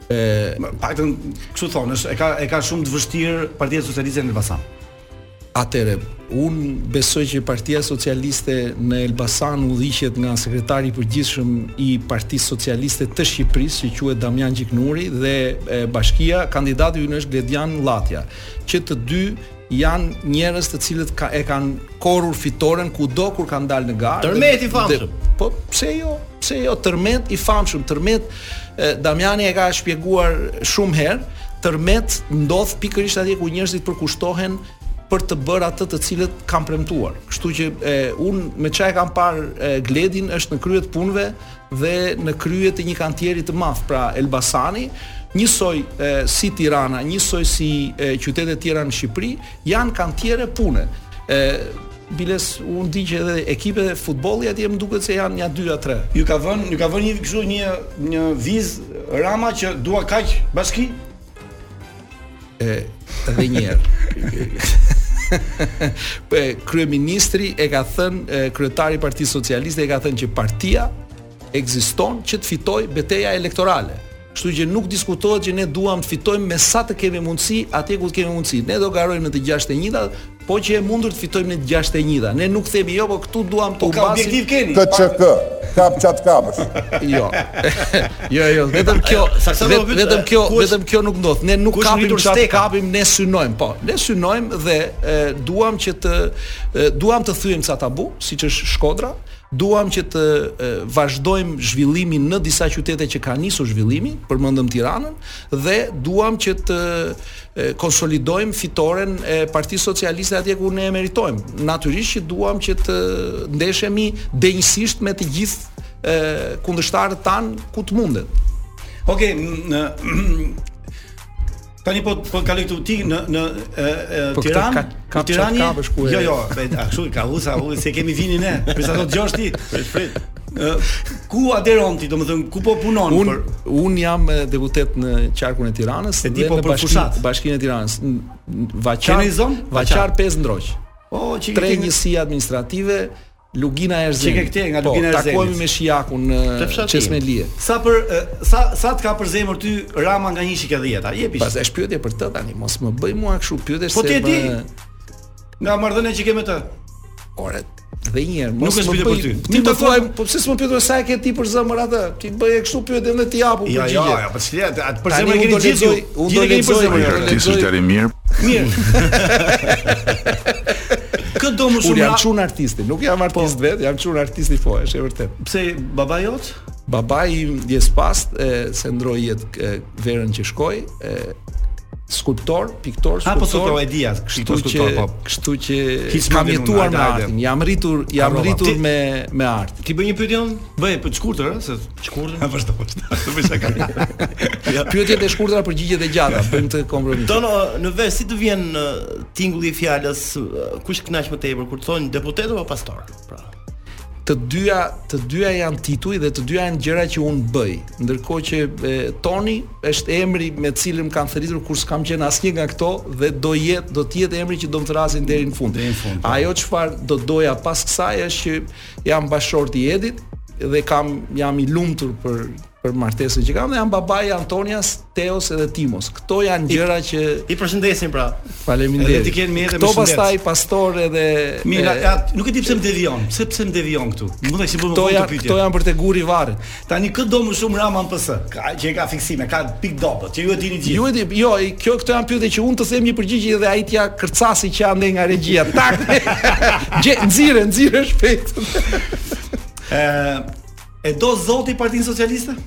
S11: Ë
S5: paktën kështu thonë, është e ka e ka shumë të vështirë Partia Socialiste në Elbasan.
S11: Atëre, unë besoj që Partia Socialiste në Elbasan udhiqet nga sekretari i përgjithshëm i Partisë Socialiste të Shqipërisë, që quhet Damian Gjiknuri dhe e, bashkia kandidati ynë është Gledian Llatia, që të dy janë njerëz të cilët ka, e kanë korrur fitoren kudo kur kanë dalë në garë.
S6: Tërmet i
S11: Dhe-
S6: famshëm.
S11: dhe- Po pse jo? Pse jo tërmet i famshëm, tërmet e, Damiani e ka shpjeguar shumë herë, tërmet ndodh pikërisht atje ku njerëzit përkushtohen për të bërë atë të cilët kanë premtuar. Kështu që e, unë me çaj kam parë e, Gledin është në krye të punëve dhe në krye të një kantieri të madh, pra Elbasani, njësoj e, si Tirana, njësoj si e, qytetet tjera në Shqipëri, janë kantiere pune. E, Biles, unë di që edhe ekipet e futbolli atje më duket se janë ja 2 a 3.
S5: Ju ka vënë, ju ka vënë një kështu një një viz Rama që dua kaq bashki.
S11: E edhe një herë. Po kryeministri e ka thënë e, kryetari i Partisë Socialiste e ka thënë që partia ekziston që të fitojë betejë elektorale. Kështu që nuk diskutohet që ne duam të fitojmë me sa të kemi mundësi, atje ku të kemi mundësi. Ne do garojmë në të 61-ta, po që e mundur të fitojmë në të 61-ta. Ne nuk themi jo, po këtu duam të
S5: Po ka
S11: humbasim.
S5: objektiv keni.
S10: KÇK, kap çat kapësh.
S11: Jo. jo, jo, vetëm kjo,
S6: Saksa do
S11: vet-
S6: pyet,
S11: vetëm kjo,
S6: ku është-
S11: vetëm kjo nuk ndodh. Ne nuk
S6: ku është
S11: kapim
S6: ngritur
S11: çfarë
S6: steka?
S11: kapim, ne synojmë, po. Ne synojmë dhe e, duam që të e, duam të thyejmë ca tabu, siç është Shkodra, duam që të e, vazhdojmë zhvillimin në disa qytete që ka nisur zhvillimi, përmendëm Tiranën dhe duam që të e, konsolidojmë fitoren e Partisë Socialiste atje ku ne e meritojmë. Natyrisht që duam që të ndeshemi denjësisht me të gjithë e, kundështarët tanë ku të mundet.
S5: Okej, n- në Tani po po kaloj këtu ti në në e, e,
S11: Po këtë
S5: Tiranë,
S11: ka- ka
S5: në Tiranë.
S11: çat kapësh ku e-
S5: Jo, jo, be, a kështu ka usa, u se kemi vini ne. Për sa do të dëgjosh ti? Prit. Ku aderon ti, domethënë ku po punon
S11: Un
S5: për
S11: un jam e, deputet në qarkun e Tiranës
S5: E di,
S11: dhe
S5: po
S11: në
S5: për fushat.
S11: Bashkinë e Tiranës. N- n- Vaqar.
S5: Keni zonë?
S11: Vaqar
S5: Vaqar.
S11: 5 ndroq.
S5: O, që
S11: Tre
S5: ke-
S11: njësi administrative Lugina e
S5: Që
S11: Erzenit.
S5: ke këtje nga Lugina e
S11: po,
S5: Erzenit.
S11: Takohemi me Shiakun
S6: Të
S11: në
S6: fshatin.
S11: Çesmelije.
S5: sa për e, sa sa të ka për zemër ty Rama nga 1 shikë 10-a? Jepi.
S11: Pas e shpyetje për të tani, mos më bëj mua kështu pyetje
S5: Po ti e
S11: më-
S5: di. Nga marrëdhënia që ke me të.
S11: Ore, dhe një herë,
S5: Nuk
S11: mos
S5: është
S11: më
S5: pyetje
S11: bëj.
S5: për ty.
S11: Ti
S5: Ti
S11: më
S5: më
S11: thuaj,
S5: thua-
S11: po pse s'më pyetur sa e ke ti për zemër atë? Ti bëje kështu pyetje dhe ti japu
S5: Ja, ja,
S11: përgjigje.
S5: ja, po çlia, atë për
S11: Tani
S5: zemër
S11: unë
S5: keni
S11: do
S5: gjithë.
S11: lexoj,
S5: ju.
S11: unë do
S5: Gjithë keni për
S11: lexoj,
S5: zemër.
S11: unë do
S5: jo.
S11: lexoj.
S8: i mirë.
S5: Mirë. Këtë do më
S11: Unë
S5: shumë
S11: jam
S5: ra- Po.
S11: çun artisti, nuk jam artist vet, jam çun artisti po, është e vërtet.
S5: pse baba jot?
S11: Babai im djes pas e, se ndroi jetë e, verën që shkoi, e, skulptor, piktor, skulptor.
S5: A, po, skulptor, e dia,
S11: Kështu
S5: piktor,
S11: që
S5: skulptor, po.
S11: kështu që
S5: Hiç
S11: kam
S5: mendin unë,
S11: jetuar
S5: hajde,
S11: me
S5: hajde.
S11: artin. Jam rritur, jam
S5: Harrova.
S11: rritur
S5: Ti-
S11: me me art.
S5: Ti bëj një pyetje unë? Bëj, po të shkurtër, ëh, se shkurtër. Ha vazhdo. Të bëj shaka.
S11: Pyetjet e shkurtra, përgjigjet e gjata, bëjmë të kompromis.
S6: Dono, në vesh si të vjen ë, tingulli i fjalës ë, kush kënaq më tepër kur thonë deputet apo pastor? Pra.
S11: të dyja të dyja janë tituj dhe të dyja janë gjëra që unë bëj. Ndërkohë që e, Toni është emri me të cilin më kanë thëritur kur s'kam qenë asnjë nga këto dhe do jetë do të jetë emri që do më thrasin deri në fund.
S5: Deri në fund, po.
S11: Ajo çfarë do doja pas kësaj është që jam bashorti i Edit dhe kam jam i lumtur për për martesën që kam dhe janë babai Antonias, Teos edhe Timos. Këto janë gjëra që
S6: i përshëndesim pra.
S5: Edhe
S11: Faleminderit.
S5: ti ke mjete
S11: Këto
S5: me shëndet.
S11: pastaj pastor edhe
S5: Mira,
S11: e-
S5: ja, nuk e di pse më devion, pse pse më devion këtu. Mund të shihim
S11: Këto janë këto janë për te guri i varrit.
S5: Tani kë do më shumë Rama në PS. Ka që e ka fiksime, ka pik dobët, që ju e dini gjithë.
S11: Ju e di, jo, i- kjo këto janë pyetje që unë të them një përgjigje dhe ai t'ja kërcasi që ande nga regjia. Tak. Gje, nxirë, nxirë shpejt.
S5: Ë, e do Zoti Partinë Socialiste?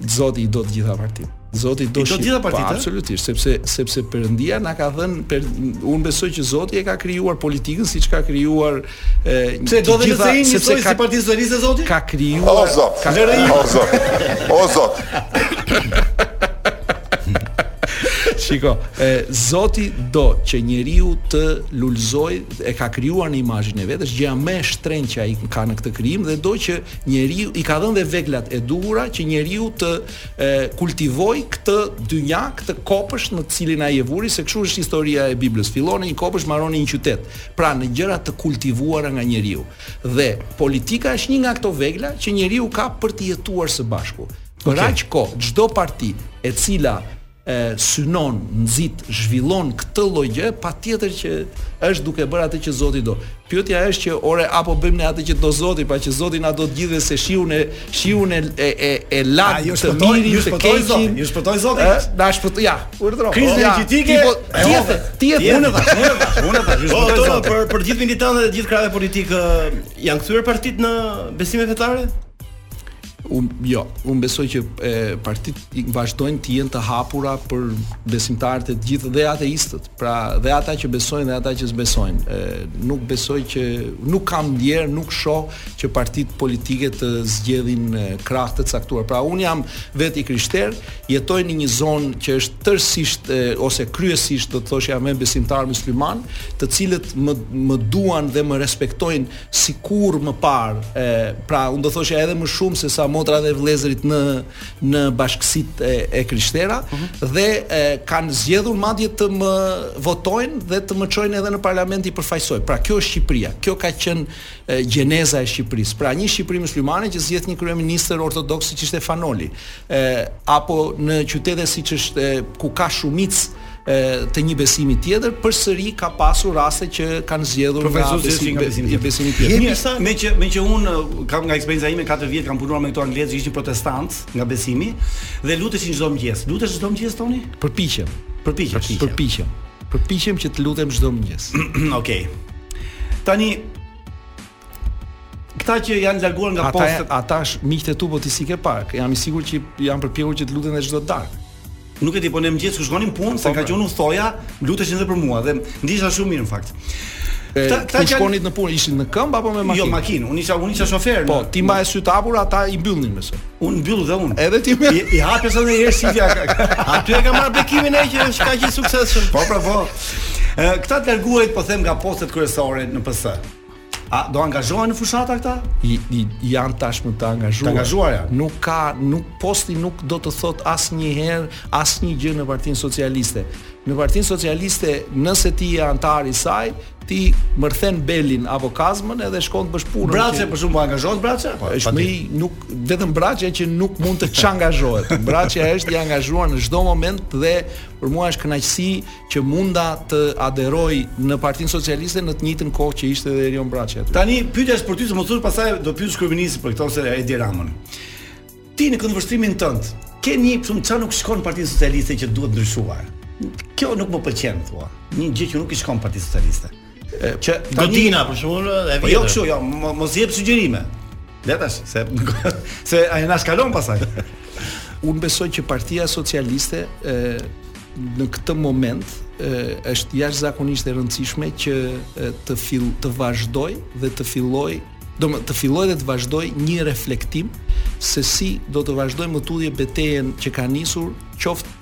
S11: Zoti i do të gjitha partitë. Zoti do
S5: I do të gjitha
S11: Shqip- pa,
S5: partitë, ë?
S11: Absolutisht, sepse sepse Perëndia na ka dhënë per, unë besoj që Zoti e ka krijuar politikën siç ka krijuar e,
S5: Pse do
S11: të
S5: dhe
S11: gjitha-
S5: LSI
S11: sepse
S5: njësoj
S11: ka-
S5: si Partinë Socialiste Zoti?
S11: ka
S10: O
S11: krijuar
S10: Zot,
S11: ka
S10: o Zot, o Zot,
S11: Shiko, e, Zoti do që njeriu të lulëzoj e ka krijuar në imazhin e vet, është gjëja më e shtrenjtë që ai ka në këtë krijim dhe do që njeriu i ka dhënë dhe veglat e duhura që njeriu të e, kultivoj këtë dynja, këtë kopësh në të cilin ai e vuri, se kështu është historia e Biblës. Fillon në një kopësh, mbaron në një qytet. Pra në gjëra të kultivuara nga njeriu. Dhe politika është një nga këto vegla që njeriu ka për të jetuar së bashku. Për aq kohë çdo parti e cila e, synon, nxit, zhvillon këtë lloj gjë, patjetër që është duke bërë atë që Zoti do. Pyetja është që ore apo bëjmë ne atë që do Zoti, pa që Zoti na do të gjithë dhe se shiun e shiun e e e, e
S5: A,
S11: lart
S5: ju
S11: të
S5: shpëtoi-
S11: mirin,
S5: ju
S11: të
S5: shpëtoi
S11: keqin.
S5: Zoti, ju shpëtoi Zoti.
S11: Ë, Na shpëtoi, ja, urdhro.
S5: Krizën
S11: Ja,
S5: energjetike,
S11: ti po-
S5: e
S11: Ti e
S5: hodhe.
S11: the, ti e the.
S5: Unë e thash, unë e thash, unë e thash, ju
S6: Po,
S5: shpëtoi
S6: to,
S5: Zoti.
S6: për për gjithë militantët dhe gjithë krave politikë ë, janë kthyer partitë në besime fetare?
S11: Un jo, un besoj që e, partit i vazhdojnë të jenë të hapura për besimtarët e të gjithë dhe ateistët. Pra dhe ata që besojnë dhe ata që s'besojnë. E, nuk besoj që nuk kam ndjer, nuk shoh që partitë politike të zgjedhin e, krah të caktuar. Pra un jam vetë i krishter, jetoj në një zonë që është tërësisht e, ose kryesisht do të thoshja me besimtar musliman, të cilët më më duan dhe më respektojnë sikur më parë. E, pra unë do thoshja edhe më shumë se sa motra dhe vëllezërit në në bashkësitë e, e krishtera dhe e, kanë zgjedhur madje të më votojnë dhe të më çojnë edhe në parlament i përfaqësoj. Pra kjo është Shqipëria. Kjo ka qenë e, gjeneza e Shqipërisë. Pra një Shqipëri muslimane që zgjedh një kryeministër ortodoks siç ishte Fanoli, e, apo në qytete siç është e, ku ka shumicë e, të një besimi tjetër, përsëri ka pasur raste që kanë zgjedhur nga
S5: Profesor Zesi
S11: besimi
S5: nga besimi
S11: be-
S5: tjetër.
S11: besimi
S5: Mirë,
S11: tjetër.
S5: me që me që un kam nga eksperjenca ime 4 vjet kam punuar me këto anglezë që ishin protestantë nga besimi dhe luteshin çdo mëngjes. Lutesh çdo mëngjes toni?
S11: Përpiqem,
S5: Përpiqesh.
S11: përpiqem. Përpiqem që të lutem çdo mëngjes.
S5: Okej. Tani këta që janë larguar nga
S11: Ata
S5: postet,
S11: ata sh- miqtë e tu po ti si ke park. Jam i sigurt që janë përpjekur që të luten edhe çdo darkë.
S5: nuk e di, po ne mëngjes ku shkonim punë, se ka qenë u thoja, luteshin edhe për mua dhe ndiqesha shumë mirë në fakt.
S11: E,
S5: Këta- këta
S11: Ku
S5: që janë-
S11: shkonit në punë, ishin në këmbë apo me makinë?
S5: Jo makinë, unë isha unë isha shofer.
S11: Po,
S5: në-
S11: ti mbaje sy të hapur, ata i mbyllnin me sy.
S5: unë mbyll dhe unë.
S11: Edhe ti me
S5: I, i hapes edhe një herë shifja.
S6: Aty e ka marrë bekimin ai që është kaq i suksesshëm.
S5: Po, pra, po. Ë, Këta të larguarit po them nga postet kryesore në PS. A do angazhohen në fushata këta?
S11: i, i janë tashmë të angazhuar.
S5: Të angazhuar janë.
S11: Nuk ka nuk posti nuk do të thot asnjëherë asnjë gjë në Partinë Socialiste. Në Partinë Socialiste, nëse ti je antar i saj, ti mërthen belin apo kazmën edhe shkon të bësh punën.
S5: Brace
S11: që-
S5: për shumë po angazhohet Brace? Po,
S11: është më i- nuk vetëm Braçja që nuk mund të çangazhohet. Braçja është i angazhuar në çdo moment dhe për mua është kënaqësi që munda të aderoj në Partinë Socialiste në të njëjtën kohë që ishte edhe Erion Braçja aty.
S5: Tani pyetja është për ty, se mos thosh pastaj do pyes kryeministin për këto se e di Ramën. Ti në këndvështrimin tënd, ke një shumë çfarë nuk shkon në Partinë Socialiste që duhet ndryshuar. Kjo nuk më pëlqen thua. Një gjë që nuk i shkon Partisë Socialiste. Që
S6: Godina për shembull, e
S5: Po jo kështu, jo, mo- mos jep sugjerime. Le tash, se se ai na shkalon pasaj.
S11: unë besoj që Partia Socialiste e, në këtë moment e, është jashtëzakonisht e rëndësishme që e, të fill të vazhdoj dhe të filloj do më të filloj dhe të vazhdoj një reflektim se si do të vazhdoj më tutje betejën që ka nisur qoftë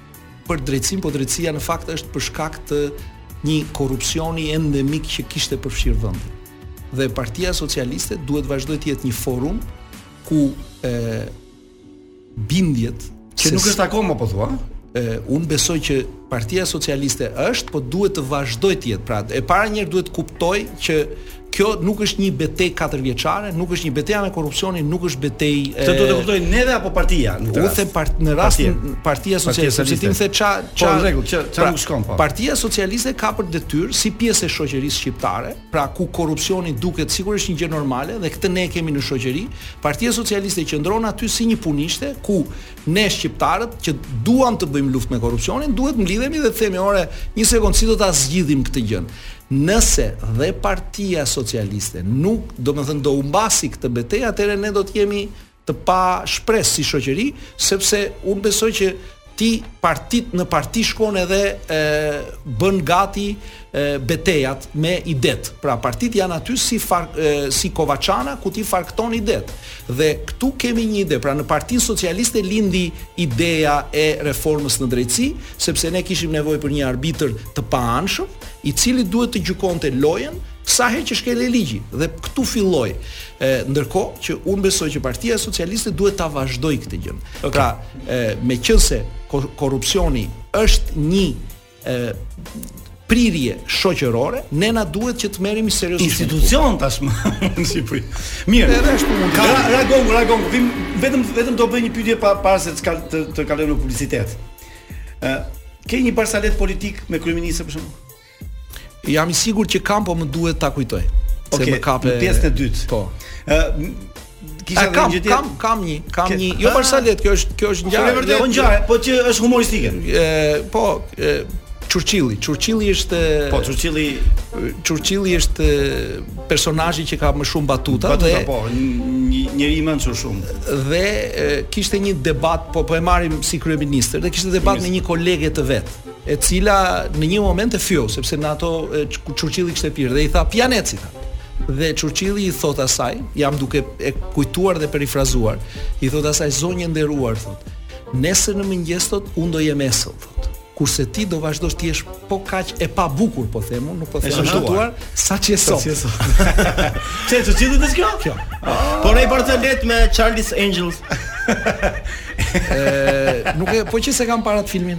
S11: për drejtësinë, po drejtësia në fakt është për shkak të një korrupsioni endemik që kishte përfshirë vendin dhe Partia Socialiste duhet vazhdoj të jetë një forum ku e, bindjet
S5: Që nuk është akoma po thua.
S11: e, unë besoj që Partia Socialiste është, po duhet të vazhdoj të jetë. Pra, e para njëherë duhet kuptoj që Kjo nuk është një betejë katër vjeçare, nuk është një betejë me korrupsionin, nuk është betejë
S5: Këtë duhet të kuptojnë neve apo partia në këtë
S11: U the part, në rastin Partia Socialiste, sepse ti më the ça
S5: Po, në rregull, që ça nuk shkon po.
S11: pra, Partia Socialiste ka për detyrë si pjesë e shoqërisë shqiptare, pra ku korrupsioni duket sigurisht një gjë normale dhe këtë ne e kemi në shoqëri, Partia Socialiste qëndron aty si një punishte ku ne shqiptarët që duam të bëjmë luftë me korrupsionin, duhet mblidhemi dhe të themi, "Ore, një sekond, si do ta zgjidhim këtë gjë?" Nëse dhe Partia Socialiste nuk, do të thënë, do humbasi këtë betejë, atëherë ne do të jemi të pa shpresë si shoqëri, sepse unë besoj që ti partit në parti shkon edhe e, bën gati e, betejat me idet. Pra partit janë aty si far, e, si kovaçana ku ti farkton idet. Dhe këtu kemi një ide, pra në Partinë Socialiste lindi ideja e reformës në drejtësi, sepse ne kishim nevojë për një arbitër të paanshëm, i cili duhet të gjykonte lojën sa herë që shkel e ligji dhe këtu filloi. ë ndërkohë që unë besoj që Partia Socialiste duhet ta vazhdojë këtë gjë. Okay. Pra, ë meqense kor- korrupsioni është një ë prirje shoqërore, ne na duhet që të merremi seriozisht.
S5: institucion tashmë në Shqipëri. Mirë.
S11: Edhe është punë.
S5: Ka ragon, ragon. Vim vetëm vetëm do bëj një pyetje pa para se të skal- të, të kalojmë në publicitet. Ë, ke një barsalet politik me kryeministë për shembull?
S11: Jam i sigurt që kam, po më duhet ta kujtoj.
S5: Okej,
S11: se më kape
S5: në pjesën e dytë.
S11: Po.
S5: Ë, kisha
S11: A,
S5: edhe
S11: kam,
S5: një gjë tjetër.
S11: kam, kam një, kam
S5: Ke-
S11: një, jo
S5: Ah.
S11: parsalet, kjo është, kjo është
S5: Po
S11: ngjarje.
S5: e vërtet,
S11: jo-
S5: po ngjarje, po që është humoristike.
S11: e, po, e, Churchilli, Churchilli është e,
S5: Po Churchilli
S11: Churchilli është e, personazhi që ka më shumë batuta,
S5: batuta
S11: dhe
S5: po, një njeri i mençur shumë.
S11: dhe e, kishte një debat, po po e marrim si kryeministër, dhe kishte debat me një kolege të vet, e cila në një moment e fyeu sepse në ato e, Ch- Churchilli kishte pirë dhe i tha pianeci tha. Dhe Churchilli i thot asaj, jam duke e kujtuar dhe perifrazuar, i thot asaj zonjë e nderuar thot. Nesër në mëngjes thot unë do jem esëll thot. Kurse ti do vazhdosh të jesh po kaq e pa bukur po them unë, nuk po them e
S5: shëmtuar.
S11: shëmtuar, saqë e sot.
S5: Çe Churchilli është kjo? Kjo.
S6: Po ne Barcelet me Charles Angels.
S11: Ë, nuk e po që se kam parat filmin.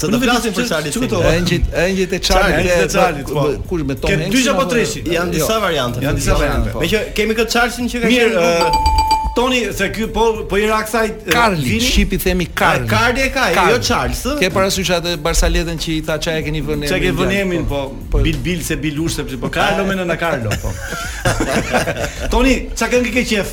S6: Të do flasim për Charles Angels.
S11: Engjit, engjit e
S5: Charlie,
S11: Charlie,
S5: engjit e Charlie, po.
S11: Kush me Tom
S5: Ke
S11: Hanks?
S5: dyshja apo treshi?
S6: Janë disa variante.
S5: Janë disa variante.
S6: Me që kemi këtë Charlesin që ka
S5: Mirë,
S6: qenë-
S5: ë, Toni, se ky po po i ra kësaj ë,
S11: Karli,
S5: vini?
S11: ship i themi Karli.
S6: A, Karli e ka,
S11: Karli.
S6: jo Charles, ë?
S11: Ke parasysh atë Barsaletën që i tha çaja keni vënë.
S5: Çka ke
S11: emrin
S5: vënë
S11: gjatë,
S5: emrin po, Bil Bil se Bilush sepse po Carlo me nëna Carlo po. Toni, çka këngë ke qef?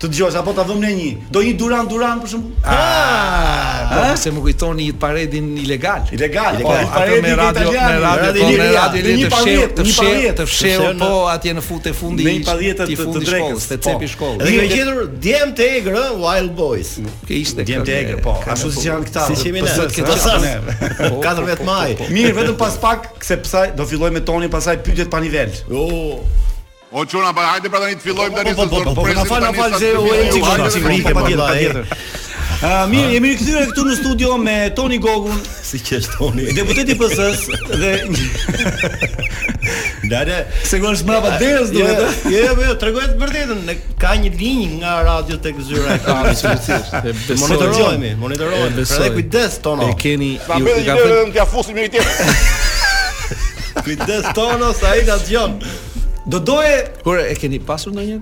S5: Të dëgjosh apo ta vëmë ne një? Do një Duran Duran për shembull?
S11: Ah, Po, se më kujtoni i paredin ilegal.
S5: Ilegal,
S11: Po, atë me radio, me radio, po, me radio le të fsheu, të fsheu, të fsheu, po atje në fut e fundi
S5: Në një paljetë
S11: i
S5: të-
S11: fundi
S5: të drekës,
S11: shkollës, te
S5: po.
S11: cepi shkollës.
S6: Dhe kemi gjetur djemë të egrë ë, Wild Boys.
S11: Ke ishte.
S5: Djem të egër, po, ashtu si janë këta.
S6: Si qemi ne? Po,
S5: pësët këta.
S6: Pësës.
S5: Ne.
S6: 14 maj.
S5: Mirë, vetëm pas pak, se pse do filloj me Toni, pasaj pyetjet pa nivel.
S6: Jo.
S7: O çuna, pa hajde pra tani të fillojmë tani
S5: Po,
S7: se
S5: po, po,
S7: zor
S5: po, po, na
S7: presim
S5: fal, na
S7: tani
S5: fal
S7: sa
S5: se
S7: të Po,
S5: u
S7: fillojmë.
S5: e çik
S6: hajde,
S5: shumë
S6: hajde,
S5: Afrikë,
S6: hajde,
S5: patjetër,
S6: hajde.
S5: patjetër. Ë, mirë, jemi rikthyer këtu në studio me Toni Gogun,
S6: Si që është toni.
S5: deputeti i PS-s dhe
S6: Dale.
S5: sigurisht mbrapa derës
S6: Jo,
S5: duhet. ë?
S6: jo, jo, jo, tregoj të vërtetën, ne- ka një linjë nga radio tek zyra e kamerës. Monitorohemi,
S11: E
S6: monitorohemi.
S11: besoj.
S6: Pra dhe kujdes tono.
S11: E keni
S10: Ta
S7: po,
S11: ju
S10: bëj
S11: i
S10: një
S11: ka
S10: lërë
S11: thënë
S10: në t'ja fusim njëri tjetër.
S6: Kujdes tono sa ai na dëgjon.
S5: Do doje,
S11: kur e keni pasur ndonjë?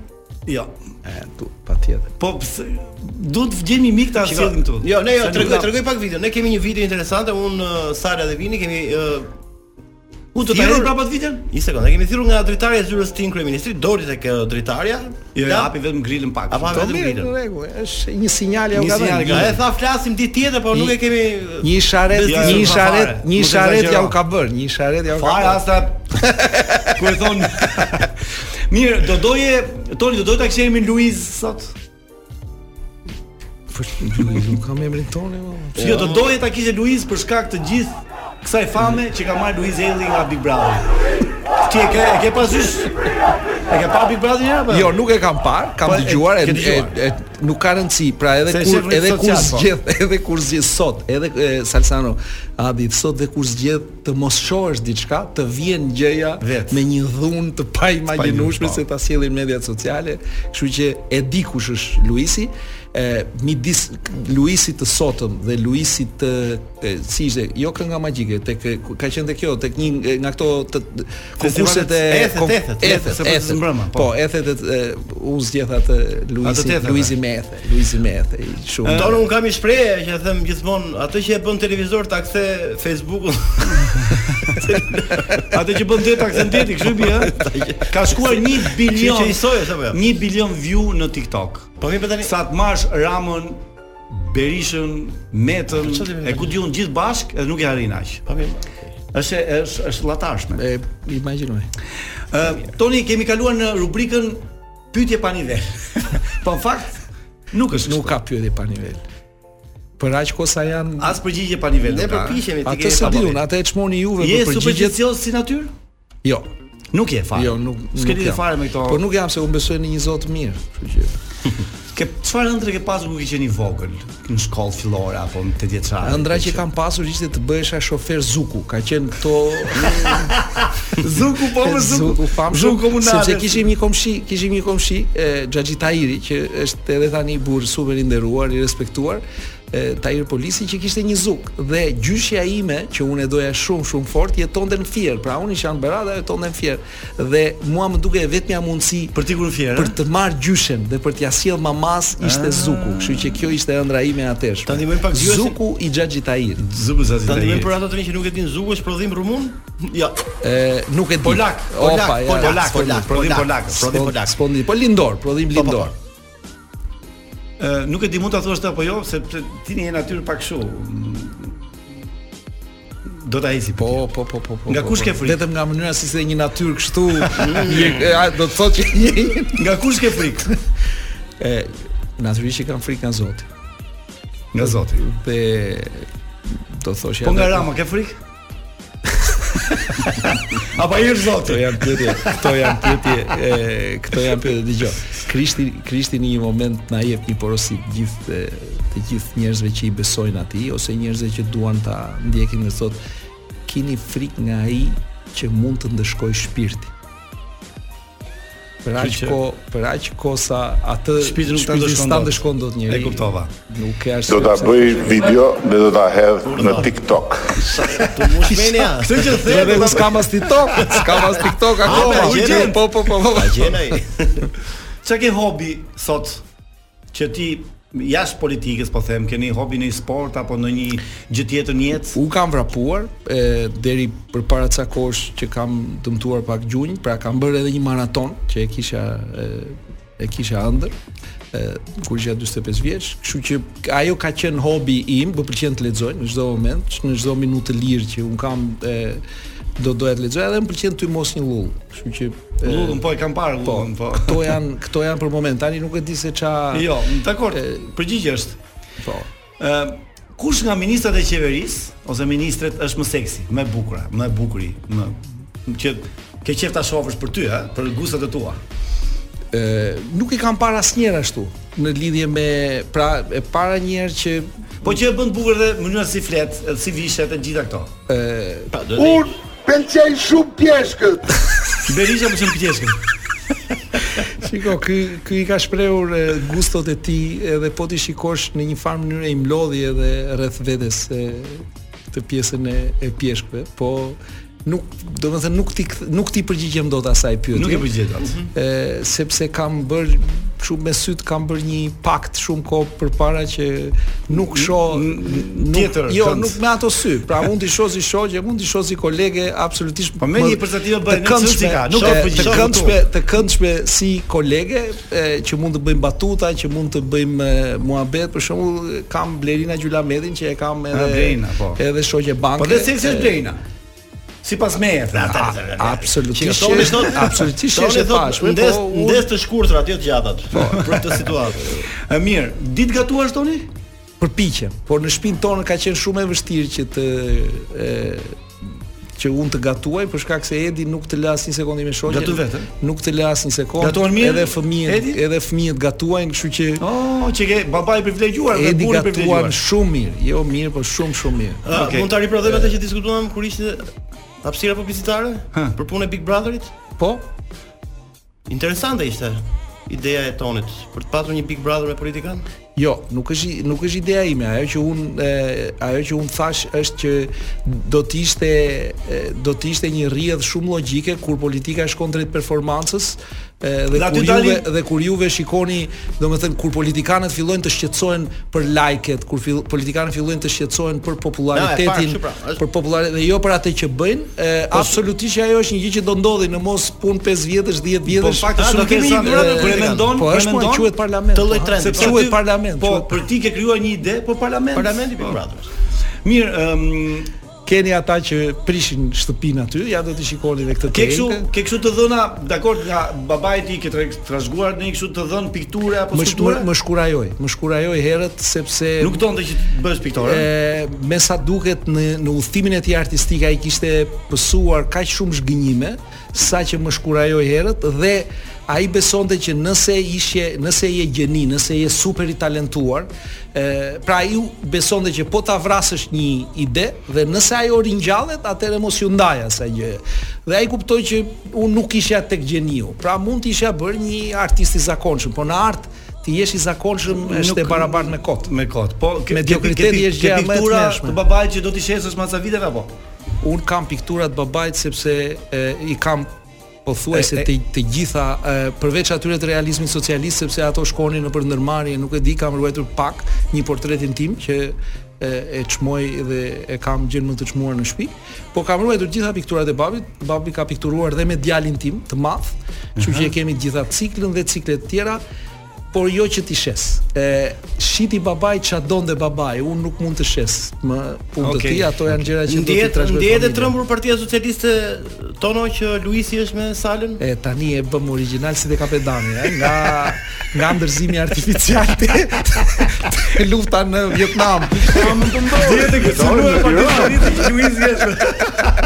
S5: jo.
S11: E, tu, patjetër.
S5: Po pse duhet të gjejmë mik ta sillim këtu.
S6: Jo, ne jo,
S5: Se
S6: tregoj,
S5: nuk-
S6: tregoj pak video. Ne kemi një video interesante, unë Sara dhe Vini kemi ë,
S5: U do ta
S6: Thirrur-
S5: hedhim prapa të vitën?
S6: Një sekondë, e kemi thirrur nga dritarja e zyrës tim kryeministri, doli tek ë, dritarja.
S5: Jo,
S6: la-
S5: hapi vetëm grilën pak.
S6: Apo
S11: Po
S6: vetëm
S11: mirë,
S6: grilën.
S11: në rregull, është një sinjal ja u
S5: Një
S11: ka
S5: sinjal
S11: dhënë.
S5: ka
S6: Nga e tha flasim ditë tjetër, por nuk e kemi
S11: Një isharet,
S5: Ja,
S11: një
S5: ja,
S11: isharet,
S5: fare,
S11: një
S5: mos
S11: isharet ja
S5: exagero.
S11: u ka bërë, një isharet ja u ka
S5: Fare
S11: bërë.
S5: asta ku e thon. Mirë, do doje Toni, do doje ta kishemi Luiz sot.
S11: Nuk kam emrin tonë.
S5: Jo, do doje ta kishte Luiz për shkak të gjithë kësaj fame që ka marrë Luiz Elli nga Big Brother. Ti e ke e ke pasysh? E ke parë Big Brother një herë apo?
S11: Jo, nuk e kam parë, kam
S5: Po, e-
S11: dëgjuar,
S5: ke
S11: e, e,
S5: dëgjuar.
S11: e, nuk ka rëndësi, pra edhe
S5: Se
S11: kur
S5: shef rrjet
S11: edhe kur
S5: social, po.
S11: zgjedh, edhe kur zgjedh sot, edhe e, Salsano, Adi, sot dhe kur zgjedh të mos shohësh diçka, të vjen gjëja me një dhunë të pa imagjinueshme
S5: po.
S11: se ta sjellin mediat sociale, kështu që e di kush është Luisi, e midis Luisi të sotëm dhe Luisi të e, si ishte, jo kënga magjike, tek e, ku- ka qenë tek kjo, tek një e, nga këto të, të konkurset e
S5: Ethet,
S11: kon-
S5: ethet, ethet, se po të zëmbrëma, po.
S11: Po, ethet e, u zgjedh atë
S5: Atë të
S11: Luisi,
S5: ethet,
S11: Luisi
S5: e.
S11: me ethe, Luisi me ethe, i shumë.
S6: Tonë un kam një shprehje që e them gjithmonë, atë që e bën televizor ta kthe Facebookun.
S5: Atë që bën deta aksidenti, kështu bi, ha? Ka shkuar 1 bilion.
S6: Që- që i soj, është apo jo?
S5: 1 bilion view në TikTok.
S6: Po mi tani.
S5: Sa të marrësh Ramën, Berishën, Metën,
S6: Po, çfarë do të
S5: e ku diun gjithë bashk, edhe nuk e arrin aq.
S6: Po mi.
S5: Është është është llatashme.
S11: E imagjinoj.
S5: Ë, Toni kemi kaluar në rubrikën pyetje pa nivel. po në fakt nuk është.
S11: Nuk ka pyetje pa nivel. Për aq kohë sa janë
S5: As përgjigje pa nivel.
S6: Ne
S5: nuk ka.
S6: përpiqemi të
S11: Atë
S6: kemi
S11: se diun,
S6: favorit.
S11: atë e çmoni juve
S5: Je
S11: për përgjigjet.
S5: supersticios si natyrë?
S11: Jo.
S5: Nuk je fare.
S11: Jo, nuk
S5: S'ke
S11: nuk
S5: lidhje
S11: jam.
S5: fare me këto.
S11: Po nuk jam se unë besoj në një Zot mirë, kështu që
S5: Ke çfarë ëndre ke pasur kur ke qenë i vogël? Në shkollë fillore apo në 8 vjeçare?
S11: ëndra që kam pasur ishte të bëhesha shofer Zuku, ka qenë këto
S5: Zuku po më Zuku.
S11: Zuku famshëm,
S5: Zuku komunale.
S11: sepse kishim një komshi, kishim një komshi e Xhaxhi Tahiri që është edhe tani burr super i nderuar, i respektuar, e, Tahir Polisi që kishte një zuk dhe gjyshja ime që unë e doja shumë shumë fort jetonte në Fier, pra unë isha në Berat dhe jetonte në Fier dhe mua më duke vetmja mundësi
S5: Për ti kur fjerë.
S11: për të marr gjyshen dhe për t'ia sjell mamas
S6: Ah.
S11: ishte Zuku, kështu që kjo ishte ëndra ime atësh.
S6: Ta ndihmojmë pak gjyhesin.
S11: Zuku i Xhaxhi Tahirit.
S5: Zuku
S6: Ta ndihmojmë për
S5: Zazitai.
S6: ato të rinj që nuk e din Zuku është prodhim rumun? Jo.
S11: Ë nuk e di.
S6: Polak, polak,
S11: Opa, ja,
S6: polak, polak,
S5: prodhim polak,
S6: prodhim
S11: Spon-
S6: polak.
S11: Spondi, po lindor, prodhim
S6: po.
S11: lindor.
S5: Ë, Nuk e di mund ta thuash ta apo jo, sepse ti një natyrë pak kështu. Do ta heci po.
S11: Po, po, po, po, po.
S5: Nga
S11: po,
S5: kush
S11: po.
S5: ke frikë?
S11: Vetëm nga mënyra si se një natyrë kështu, je- e, a, do të thotë që je.
S5: Nga kush ke frikë?
S11: E natyrisht që kam frikë nga Zoti.
S5: Nga Zoti.
S11: Dhe do të thoshja.
S5: Po nga
S11: edhe-
S5: Rama ke frikë? Apo i është
S11: Këto
S5: Zoti?
S11: janë pyetje, këto janë pyetje, e, këto janë pyetje dëgjoj. Krishti Krishti në një moment na jep një porosi të gjithë e, të gjithë njerëzve që i besojnë atij ose njerëzve që duan ta ndjekin dhe thotë keni frikë nga ai që mund të ndëshkoj shpirti. Për aq
S5: Kështu që-
S11: kohë, për aq kohë sa atë
S5: Shpirti nuk ta ndëshkon
S11: ta
S5: dot.
S11: ndëshkon dot njeriu.
S5: E kuptova.
S11: Nuk ka arsye.
S10: Do ta
S11: pse-
S10: bëj video dhe do ta hedh në TikTok.
S6: Po mush menja.
S5: Këtë që the
S11: Dhe edhe unë s'kam as TikTok, s'kam as TikTok akoma.
S6: po, gjenë.
S11: Po, po, po, po.
S6: Ta gjen ai.
S5: Çka ke hobi sot që ti jashtë politikës po them, keni hobi në një sport apo në një gjë tjetër në jetë?
S11: U kam vrapuar e, deri përpara ca kohësh që kam dëmtuar pak gjunjë, pra kam bërë edhe një maraton që e kisha e, e kisha ëndër e, kur isha 45 vjeç, kështu që ajo ka qenë hobi im, më pëlqen të lexoj në çdo moment, në çdo minutë të lirë që un kam e, do doja të lexoj edhe më pëlqen ty mos një lull, kështu që e,
S5: Lullën po e kam parë
S11: po,
S5: lullën po.
S11: këto janë këto janë për moment. Tani nuk e di se ça
S5: Jo, dakor.
S11: E-
S5: Përgjigje është.
S11: Po.
S5: Ë kush nga ministrat e qeverisë ose ministret është më seksi, më e bukur, më e bukuri, më që ke qef ta shohësh për ty, ha, për gustat e tua.
S11: Ë, nuk i kam parë asnjëherë ashtu në lidhje me pra e para një herë që
S5: Po që e bën bukur dhe mënyra si flet, edhe si vishet e gjitha këto.
S10: Un pëlqej shumë pjeshkët.
S5: Berisha po më qenë pjeshkën.
S11: Shiko, ky ky i ka shprehur e, gustot e tij edhe po ti shikosh në një farë mënyrë i mlodhi edhe rreth vetes e, të pjesën e, e pjeshkëve, po nuk do të thënë nuk ti kth- nuk ti përgjigjem dot asaj pyetje.
S5: Nuk e përgjigjet
S11: Mhm.
S5: atë.
S11: e, sepse kam bër shumë me syt kam bër një pakt shumë kohë përpara që nuk shoh nuk-
S5: tjetër
S11: jo
S5: kënd.
S11: nuk me ato sy pra mund të shoh si shoqe mund të shoh si kolege absolutisht
S5: Po me
S11: më-
S5: një përcaktim e bëj,
S11: të
S5: ne të
S11: këndshme,
S5: syt i ka, nuk
S11: e,
S5: e përgjigjesh
S11: të
S5: ato.
S11: këndshme të këndshme si kolege e, që mund të bëjmë batuta që mund të bëjmë e, muhabet për shembull kam Blerina Gjulametin që e kam edhe
S5: Blerina, po.
S11: edhe shoqe banke
S5: Po dhe seksi
S11: e,
S5: është Blerina. Sipas meje.
S11: a- Absolutisht.
S6: Toni
S11: që-
S6: thot,
S11: Absolutisht
S6: Toni
S11: është e
S6: thot,
S11: pashme,
S6: Ndes
S11: po unë- Po.
S6: ndes të shkurtra aty të gjatat. Për këtë situatë.
S5: Ë mirë, ditë gatuash toni?
S11: përpiqem, por në shtëpinë tonë ka qenë shumë e vështirë që të e, që unë të gatuaj për shkak se Edi nuk të la asnjë sekondë me shoqen.
S5: Gatu vetëm?
S11: Nuk të la asnjë sekondë.
S5: Gatuan mirë?
S11: Edhe fëmijët,
S5: Edi?
S11: edhe fëmijët gatuajnë, kështu që
S5: Oh, që ke baba i privilegjuar dhe
S11: Edi
S5: burri i
S11: gatuan
S5: privilegjuar.
S11: shumë mirë, jo mirë, por shumë shumë mirë.
S6: Ë,
S5: Okej.
S6: Mund ta riprodhojmë atë që diskutuam kur ishte hapësira publicitare për punën e Big Brotherit?
S11: Po.
S6: Interesante ishte ideja e tonit për të pasur një Big Brother me politikan.
S11: Jo, nuk është i- nuk është ideja ime, ajo që un e, ajo që un thash është që do të ishte e, do të ishte një rrjedh shumë logjike kur politika shkon drejt performancës e,
S5: Dhe
S11: dhe
S5: aty
S11: kur juve
S5: dalin-
S11: dhe kur juve shikoni, domethënë kur politikanët fillojnë të shqetësohen për like-et, kur fill, politikanët fillojnë të shqetësohen për
S6: Na, e
S11: popularitetin,
S6: parë, kështu pra, është-
S11: për popullaritet dhe jo për atë që bëjnë, e, absolutisht që ajo është një gjë që do ndodhi në mos punë 5 vjetësh, 10
S5: Po
S11: vjetësh.
S5: fakt është
S6: do
S5: shumë
S6: kemi
S5: interesante.
S6: një Big Brother
S5: Kur e
S6: politikan.
S5: mendon,
S11: Po
S5: kur e
S11: është po
S5: mendon,
S11: quhet parlament.
S6: të lloj
S11: ha,
S6: trendi,
S11: sepse
S6: pra.
S11: quhet
S5: aty-
S11: parlament.
S5: Po,
S11: quhet-
S5: për ti ke krijuar një ide, po parlament.
S6: Parlamenti Big
S5: Po.
S6: Brother.
S5: Mirë, ehm, ëm,
S11: keni ata që prishin shtëpinë aty, ja do të shikoni me këtë
S5: Ke
S11: tekë.
S5: kështu, ke kështu të dhëna, dakor nga babai i tij që trashëguar në një kështu të dhën pikture apo
S11: Më shkur,
S5: skulptura?
S11: më shkurajoj, më shkurajoj herët sepse
S5: Nuk donte që të bësh piktore.
S11: e, me sa duket në në udhimin e tij artistik ai kishte pësuar kaq shumë zhgënjime sa që më shkurajoi herët dhe ai besonte që nëse ishe nëse je gjeni, nëse je super i talentuar, ë pra ai u- besonte që po ta vrasësh një ide dhe nëse ajo ringjallet, atëherë mos ju ndaj asaj gjëje. Dhe ai kuptoi që unë nuk isha tek gjeniu. Pra mund të isha bërë një artist i zakonshëm, po në art ti jesh i zakonshëm është e barabartë me kot.
S5: me kot. Po ke- ke-
S11: Mediokriteti
S5: ke- ke-
S11: është gjëja
S5: ke
S11: më e
S5: piktura
S11: tmerrshme.
S5: Të babait që do t'i shesësh mas sa viteve apo?
S11: un kam pikturat babait sepse e, i kam
S5: E,
S11: pothuajse
S5: e-
S11: të të gjitha e, përveç atyre të realizmit socialist sepse ato shkonin nëpër ndërmarrje, nuk e di, kam ruajtur pak një portretin tim që e, e çmoj dhe e kam gjën më të çmuar në shtëpi, po kam ruajtur gjitha pikturat e babit. Babi ka pikturuar dhe me djalin tim të madh, kështu
S5: Mhm.
S11: që e kemi të gjitha ciklin dhe ciklet të tjera por jo që ti shes. E shiti babai ça donte babai, unë nuk mund të shes. Më punë
S5: Okej,
S11: të ti, ato janë gjëra që do të
S6: Ndihet
S11: trashëgoj.
S6: ndihet e
S11: familjen.
S6: trembur Partia Socialiste tono që Luisi është me Salën?
S11: E tani e bëm original si te kapedani, e, eh, nga nga ndërzimi artificial te, te lufta në Vietnam.
S5: Dihet të këshilluar pa ditë që Luizi është.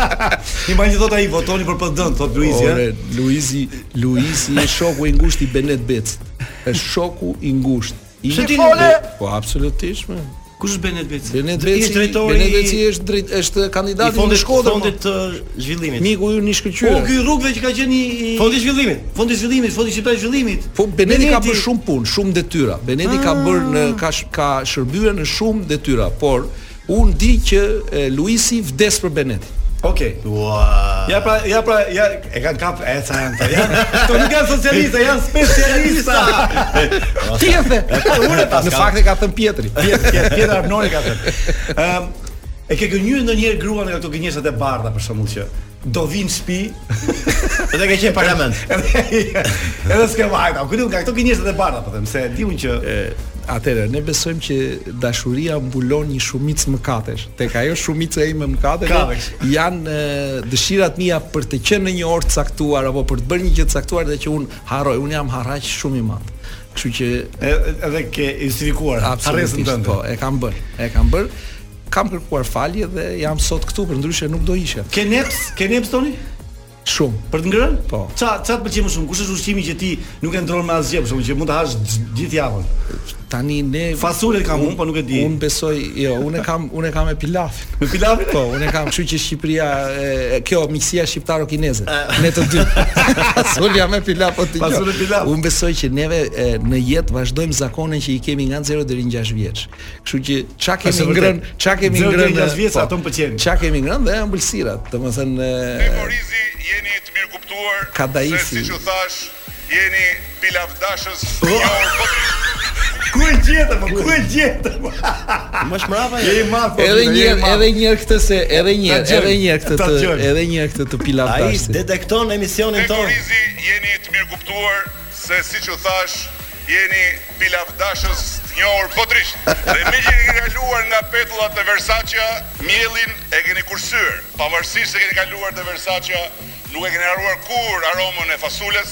S5: Ima që thot ai votoni për PD-n, thot Luizi,
S6: eh?
S5: eh.
S11: Ore,
S5: ëh.
S11: Luizi, Luizi e shoku i ngushtë i Benet Bec. Është shoku i ngushtë. I
S6: Pse ti-
S11: Po absolutisht, më.
S5: Kush është Benet Beci?
S11: Benet
S6: Ish
S11: Beci,
S6: drejtori
S11: Benet
S6: i-
S11: Beci është drejt është
S6: I
S11: kandidati në
S6: fondit
S11: Shkodër.
S6: fondit
S11: mo.
S6: të zhvillimit.
S11: Miku ju një
S5: Po
S11: shkëlqyer.
S5: ky rrugëve që ka qenë i i-
S6: Fondi i zhvillimit.
S5: fondi i zhvillimit, fondi shqiptar i zhvillimit.
S11: Po Benedi ka bërë shumë punë, shumë detyra. Benedi ka bërë në ka sh- ka shërbyer në shumë detyra, por unë di që e, Luisi vdes për Benedi.
S5: Okej.
S6: Ua.
S5: Ja pra, ja pra, ja e kanë kap e sa janë këto. Janë, këto nuk janë socialistë, janë specialistë.
S11: Ti e the.
S5: unë e pas
S11: Në
S5: kam.
S11: fakt e ka thënë Pietri.
S5: Pjetër, pjetër, pjetër Arnori ka thënë. Ëm Ehm, e ke gënjur ndonjëherë gruan nga këto gënjeshtrat e bardha për shembull që do vinë në shtëpi
S6: Edhe ka qenë parlament.
S5: edhe edhe s'ke vajta. Ku diun nga këto gënjeshtrat e bardha po them se diun që
S11: Atëherë ne besojmë që dashuria mbulon një shumicë mëkatesh. Tek ajo shumica ime mëkateve
S5: Kavesh.
S11: janë e, dëshirat mia për të qenë në një orë të caktuar apo për të bërë një gjë të caktuar dhe që unë harroj. Unë jam harraq shumë i madh. Kështu që
S5: e- edhe ke justifikuar harresën
S11: Absolutisht,
S5: tënde.
S11: po, e kam bër. E kam bër. Kam kërkuar falje dhe jam sot këtu, për ndryshe nuk do isha.
S5: Ke neps, ke neps toni?
S11: Shumë.
S5: Për të ngrënë?
S11: Po.
S5: Ça ça të pëlqen më shumë? Kush është ushqimi që ti nuk e ndron me asgjë, për shembull që mund ta hash gj- gjithë javën?
S11: Tani ne
S5: Fasulet kam unë, po nuk e di.
S11: Unë besoj, jo, unë e kam, unë e kam me pilafin.
S5: Me pilafin?
S11: Po, unë e kam, kështu që Shqipëria, e, kjo miqësia shqiptaro-kineze, ne të dy. Sulja me pilaf po ti.
S5: Pasul Ah. e pilaf.
S11: Unë besoj që neve e, në jetë vazhdojmë zakonin që i kemi nga 0 deri në 6 vjeç. Kështu që çka
S5: Është
S11: kemi
S5: vërtet.
S11: ngrën, çka kemi
S5: 0 deri
S11: ngrën.
S5: në 6 vjeç,
S11: po,
S5: ato më pëlqejnë.
S11: Çka kemi ngrën dhe ëmbëlsirat, domethënë e,
S7: Morizi, jeni të mirë kuptuar
S11: Kadaisi.
S7: se siç u thash, jeni pilavdashës. jo, po
S5: Ku e gjetë apo ku e gjetë? apo?
S6: Më shmbrapa.
S5: Je i madh. po,
S11: Edhe
S5: je i
S11: një herë,
S5: madh.
S11: edhe një herë këtë se, edhe një herë,
S5: Ta gjojmë,
S11: edhe një herë këtë
S5: ta
S11: të,
S5: gjojmë.
S11: edhe një herë këtë të
S6: Ai
S11: pilavdashit.
S6: detekton emisionin
S7: Te
S6: tonë.
S7: Morizi, jeni të mirë kuptuar se siç u thash, jeni pilavdashës të njohur botërisht. Dhe me që keni kaluar nga petullat e Versace, mielin e keni kursyer. Pavarësisht se keni kaluar te Versace, nuk e keni harruar kur aromën e fasules.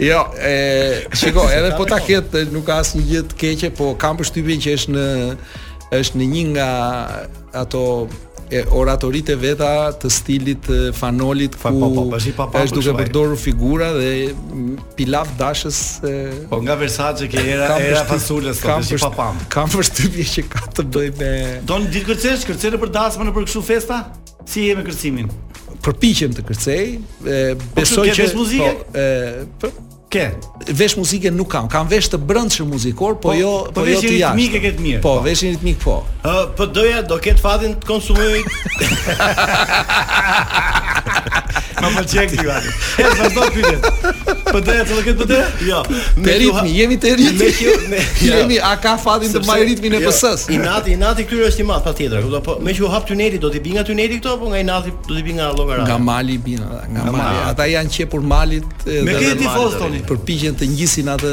S11: Jo, e shiko, edhe po ta ketë nuk ka asnjë gjë të keqe, po kam përshtypjen që është në është në një nga ato e, oratoritë e veta të stilit e, fanolit ku
S6: po, po, bashi pa pakur
S11: është duke
S6: shkuaj.
S11: përdorur figura dhe mm, Pilaf Dashës e,
S5: Po nga Versace që era
S11: kam
S5: era
S11: përshtyp-
S5: fasulës
S11: kam
S5: sot, si
S11: përshtyp-
S5: papam.
S11: Kam përshtypje që ka të bëj me
S5: Don ditë kërcesh, kërcere për dasmën për kështu festa? Si je me kërcimin?
S11: përpiqem të kërcej, e, besoj
S5: ke
S11: që
S5: vesh muzike?
S11: po, e, po,
S5: Ke.
S11: vesh muzike nuk kam, kam vesh të brëndshëm muzikor, po,
S5: Po-
S11: jo
S5: po
S11: po, jo
S5: veshin
S11: të jashtë.
S5: ritmik e ke të mirë,
S11: Po,
S5: po.
S11: veshin ritmik po.
S6: Ë, PD-ja do ket fatin të konsumoj
S5: Më pëlqen ti vani. E vazhdo pyetjet. PD atë do këtë PD?
S6: jo.
S11: Te ritmi, jemi te ritmi.
S6: me që- me- jo.
S11: jemi a ka fatin të
S6: Sepse-
S11: mbaj ritmin e
S6: jo,
S11: PS-s.
S6: Inati, inati këtyre është i madh patjetër. kupton, Po me që u hap tyneli do t'i bi nga tyneli këto, po nga inati do t'i bi nga llogara.
S11: Nga mali bin, ata, nga mali. Ata janë qepur malit e,
S5: Me
S11: dhe-
S5: këtë tifos toni.
S11: përpiqen të ngjisin atë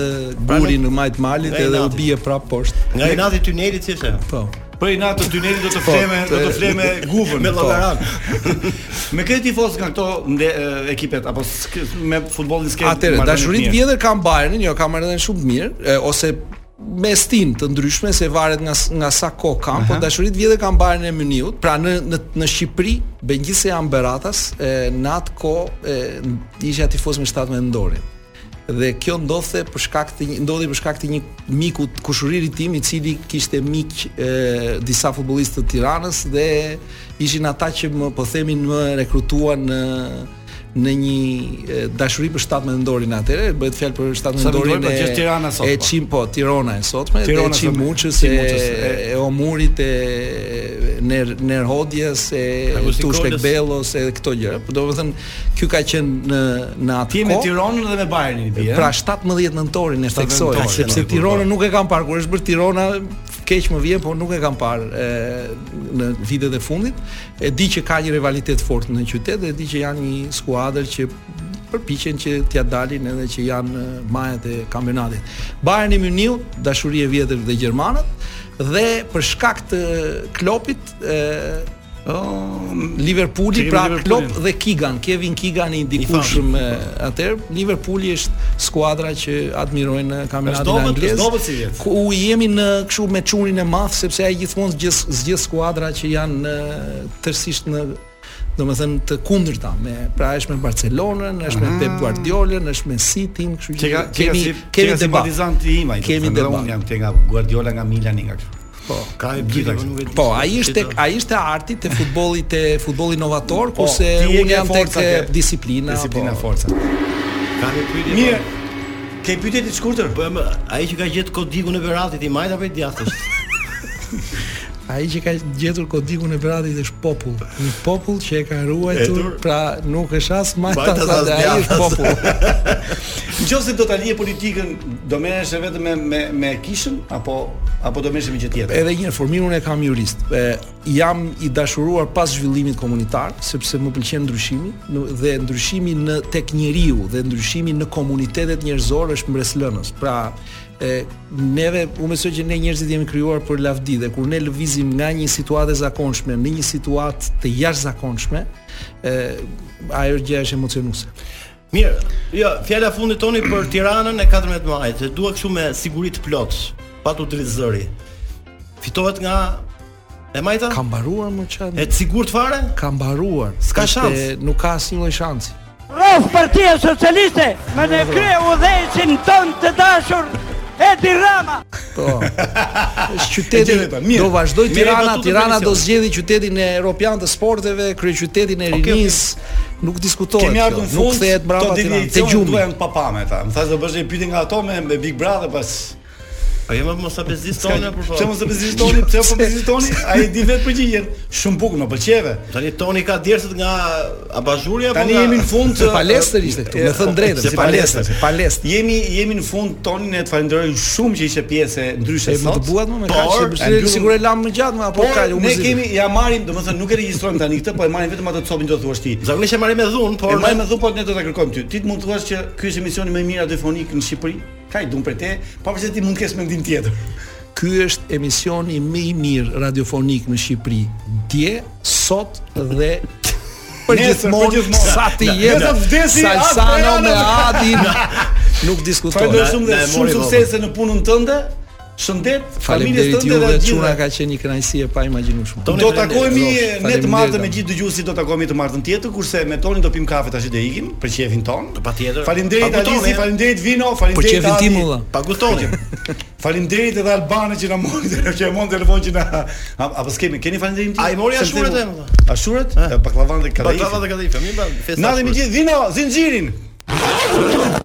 S11: gurin në majt malit
S6: Nga
S11: edhe u
S6: inati.
S11: bie prap poshtë.
S6: Nga inati tyneli si është? ajo?
S11: Po.
S5: Po i natë të dyneli do të fleme, do të fleme guvën.
S6: Me
S5: Po.
S6: llogaran.
S5: Me këtë tifos nga këto mle, e, ekipet apo sk- me futbollin s'ke.
S11: Atëre,
S5: marrëdhënie
S11: dashurinë
S5: të mirë.
S11: tjetër kam Bayernin, jo kam marrëdhënë shumë të mirë, e, ose me stin të ndryshme se varet nga s- nga sa kohë kam, po dashuritë vjetër kam Bayernin e Muniut, pra në në, në Shqipëri Bengjisi Amberatas e, në atë kohë e, isha tifoz me 17 ndorit. Dhe kjo ndodhte për shkak të një ndodhi për shkak të një miku të kushëririt tim i cili kishte mik e, disa futbollistë të Tiranës dhe ishin ata që më po themin më rekrutuan në në një e, dashuri për 17 ndorin atëre, bëhet fjalë për 17
S5: Shtatëmbëndorin,
S11: ndorin
S5: pra, që është Tirana sot,
S11: e
S5: po.
S11: Çim po, Tirana e sotme,
S5: Tirana
S11: Tirana e
S5: sotme,
S11: Çimuçës, e,
S5: Çimuçës,
S11: e,
S5: e-
S11: Omurit, e Ner Nerhodjes, e
S6: Agustin
S11: Tushpek
S6: Kolës.
S11: Bellos, e këto gjëra. Po domethënë, ky ka qenë në në
S5: Ti
S11: atë
S5: me
S11: kohë.
S5: Tiranën dhe me Bayernin eh? i bie.
S11: po? Pra 17 nëntorin e
S5: 17
S11: theksoj,
S5: nëntorin,
S11: sepse
S5: po, po.
S11: Tirana nuk e kam parë kur është bërë Tirana keq më vjen, por nuk e kam parë e, në vitet e fundit. E di që ka një rivalitet fort në qytet dhe e di që janë një skuadër që përpiqen që t'ja dalin edhe që janë e, majat e kampionatit. Bayern i Muniu, dashuri e vjetër dhe gjermanët dhe për shkak të Klopit ë
S5: që
S11: Liverpooli,
S5: kemi
S11: pra
S5: Liverpoolin.
S11: Klopp dhe Kigan, Kevin Kigan i ndikueshëm e, atëherë. Liverpooli është skuadra që admirojnë në kampionatin
S5: Zdobët-
S11: anglez.
S5: zdobët si vjet.
S11: Ku u jemi në kështu me çunin e madh sepse ai gjithmonë gjith zgjidh skuadra që janë në, tërësisht në domethënë të kundërta me pra është me Barcelonën, është me Pep Guardiolën, është me City, kështu
S5: Që ka që ka si
S11: kemi
S5: kemi
S11: debat.
S5: simpatizant i imaj.
S11: Kemi debat.
S5: Unë jam te nga Guardiola nga Milani nga kështu.
S11: Po.
S6: Ka e gjitha këtu.
S11: Po, ai është tek ai është te arti, te futbolli, te futbolli inovator,
S5: Po,
S11: kurse
S5: ti e
S11: unë
S5: ke
S11: jam tek
S5: forca,
S11: e,
S5: ke-
S11: disiplina.
S5: Disiplina
S11: po.
S5: forca.
S6: Ka një pyetje.
S5: Mirë. Ke pyetje të shkurtër?
S6: Po më, ai që ka gjetë kodikun e Beratit i majt apo i djathtë?
S11: Ai që ka gjetur kodikun e Beratit është popull, një popull që e ka ruajtur, pra nuk është as majta
S6: Majtas
S11: sa
S6: as
S11: dhe ai është
S6: djathtas.
S11: popull.
S5: Nëse do ta lije politikën, do merresh vetëm me me me kishën apo apo do merresh me gjë tjetër?
S11: Edhe një herë formimin e kam jurist. E, jam i dashuruar pas zhvillimit komunitar, sepse më pëlqen ndryshimi në- dhe ndryshimi në tek njeriu dhe ndryshimi në komunitetet njerëzore është mbreslënës. Pra, e, neve u besoj që ne njerëzit jemi krijuar për lavdi dhe kur ne lëvizim nga një situatë e zakonshme në një situatë të jashtëzakonshme, ë ajo është gjëja është emocionuese.
S6: Mirë. Jo, fjala fundit toni për Tiranën e 14 majit. e Dua kështu me siguri të plot, pa tu dritë zëri. Fitohet nga e majta?
S11: Ka mbaruar më çan.
S6: E të sigurt fare?
S11: Ka mbaruar.
S6: S'ka
S11: Ishte-
S6: shans.
S11: Nuk ka asnjë lloj shansi.
S2: Rrëf partia socialiste me në kre u ton të dashur Edi Rama.
S11: Po. Është qyteti
S5: E gjeve, mirë.
S11: do vazhdoj
S6: Mirë,
S11: Tirana,
S6: batutë
S11: Tirana
S6: për
S11: do
S6: misionin.
S11: zgjedhë qytetin e Europian të sporteve, kryeqytetin e
S6: Okej,
S11: rinis. Nuk diskutohet.
S5: Kemi
S11: kjo,
S5: ardhur në fund.
S11: nuk kthehet mbrapa Tirana. Te gjumi.
S5: Duhen papame ta. Më thashë do bësh një pyetje nga ato me, me Big Brother pas.
S6: Po jemi mos abezis tonë për
S5: Pse mos e vizitoni, pse mos e vizitoni? Ai di vetë përgjigjen. Shumë bukur, më pëlqeve.
S6: Tani Toni ka djersët nga abazhuri apo
S5: Tani
S6: nga
S5: jemi në fund
S11: Se palestër ishte këtu, me thënë drejtën,
S5: se
S11: si
S5: palestër,
S11: palestër, si palestër.
S5: Jemi jemi në fund tonin ne të falenderojmë shumë që ishe pjesë e ndryshe
S11: E
S5: sot.
S11: më të buat më me
S5: Por,
S11: kaq se
S5: e mbyllim-
S11: përse sigurisht e lam më gjatë më apo
S5: Por
S11: ka u
S5: ne
S11: muzikë.
S5: kemi ja marrim, domethënë nuk e regjistrojmë tani këtë, po e marrim vetëm atë të copin do thuash ti.
S6: Zakonisht e marrim me dhunë, por
S5: Por e marrim me dhunë, po ne do ta kërkojmë ty. Ti të mund të thuash që ky është emisioni më i mirë radiofonik në Shqipëri. Ka i dum për te, pavarësisht se ti mund të kesh mendim tjetër.
S11: Ky është emisioni më i mirë radiofonik në Shqipëri. Dje, sot dhe përgjithmonë
S5: përgjithmonë.
S11: sa ti
S5: Na-
S11: je.
S5: na- sa vdesi,
S11: Salsano
S5: atë
S11: me
S5: Adriana-
S11: Adin. Nuk diskutohet.
S5: Falenderoj shumë
S6: na
S5: dhe
S6: e
S5: shumë
S6: mori vallë.
S5: suksese në punën tënde. Shëndet, familjes
S11: Faleminderit
S5: tënde
S11: juve,
S5: dhe të
S11: çuna
S5: gjitha.
S11: ka qenë një kënaqësi e paimaginueshme.
S5: Do takohemi ne të martën me gjithë dëgjuesit do takohemi të martën tjetër, kurse me Tonin do pim kafe tash dhe ikim për qefin ton.
S6: Patjetër.
S5: Faleminderit
S6: Paguhtoni,
S5: Alisi,
S6: eh?
S5: faleminderit Vino, faleminderit
S11: qefin tim, valla.
S6: Pa gutoni.
S5: Faleminderit edhe Albane që na mori që e mund telefon që na a- apo skemi keni falënderim ti?
S6: Ai mori
S5: Se
S6: ashurët
S5: më
S6: e,
S5: themu-
S6: valla. Eh.
S5: Ashurët? Baklavan dhe kadaifi.
S6: Baklava dhe kadaifi, mi bën festa.
S5: Na dhe me
S6: ashurët.
S5: gjithë Vino, zinxhirin.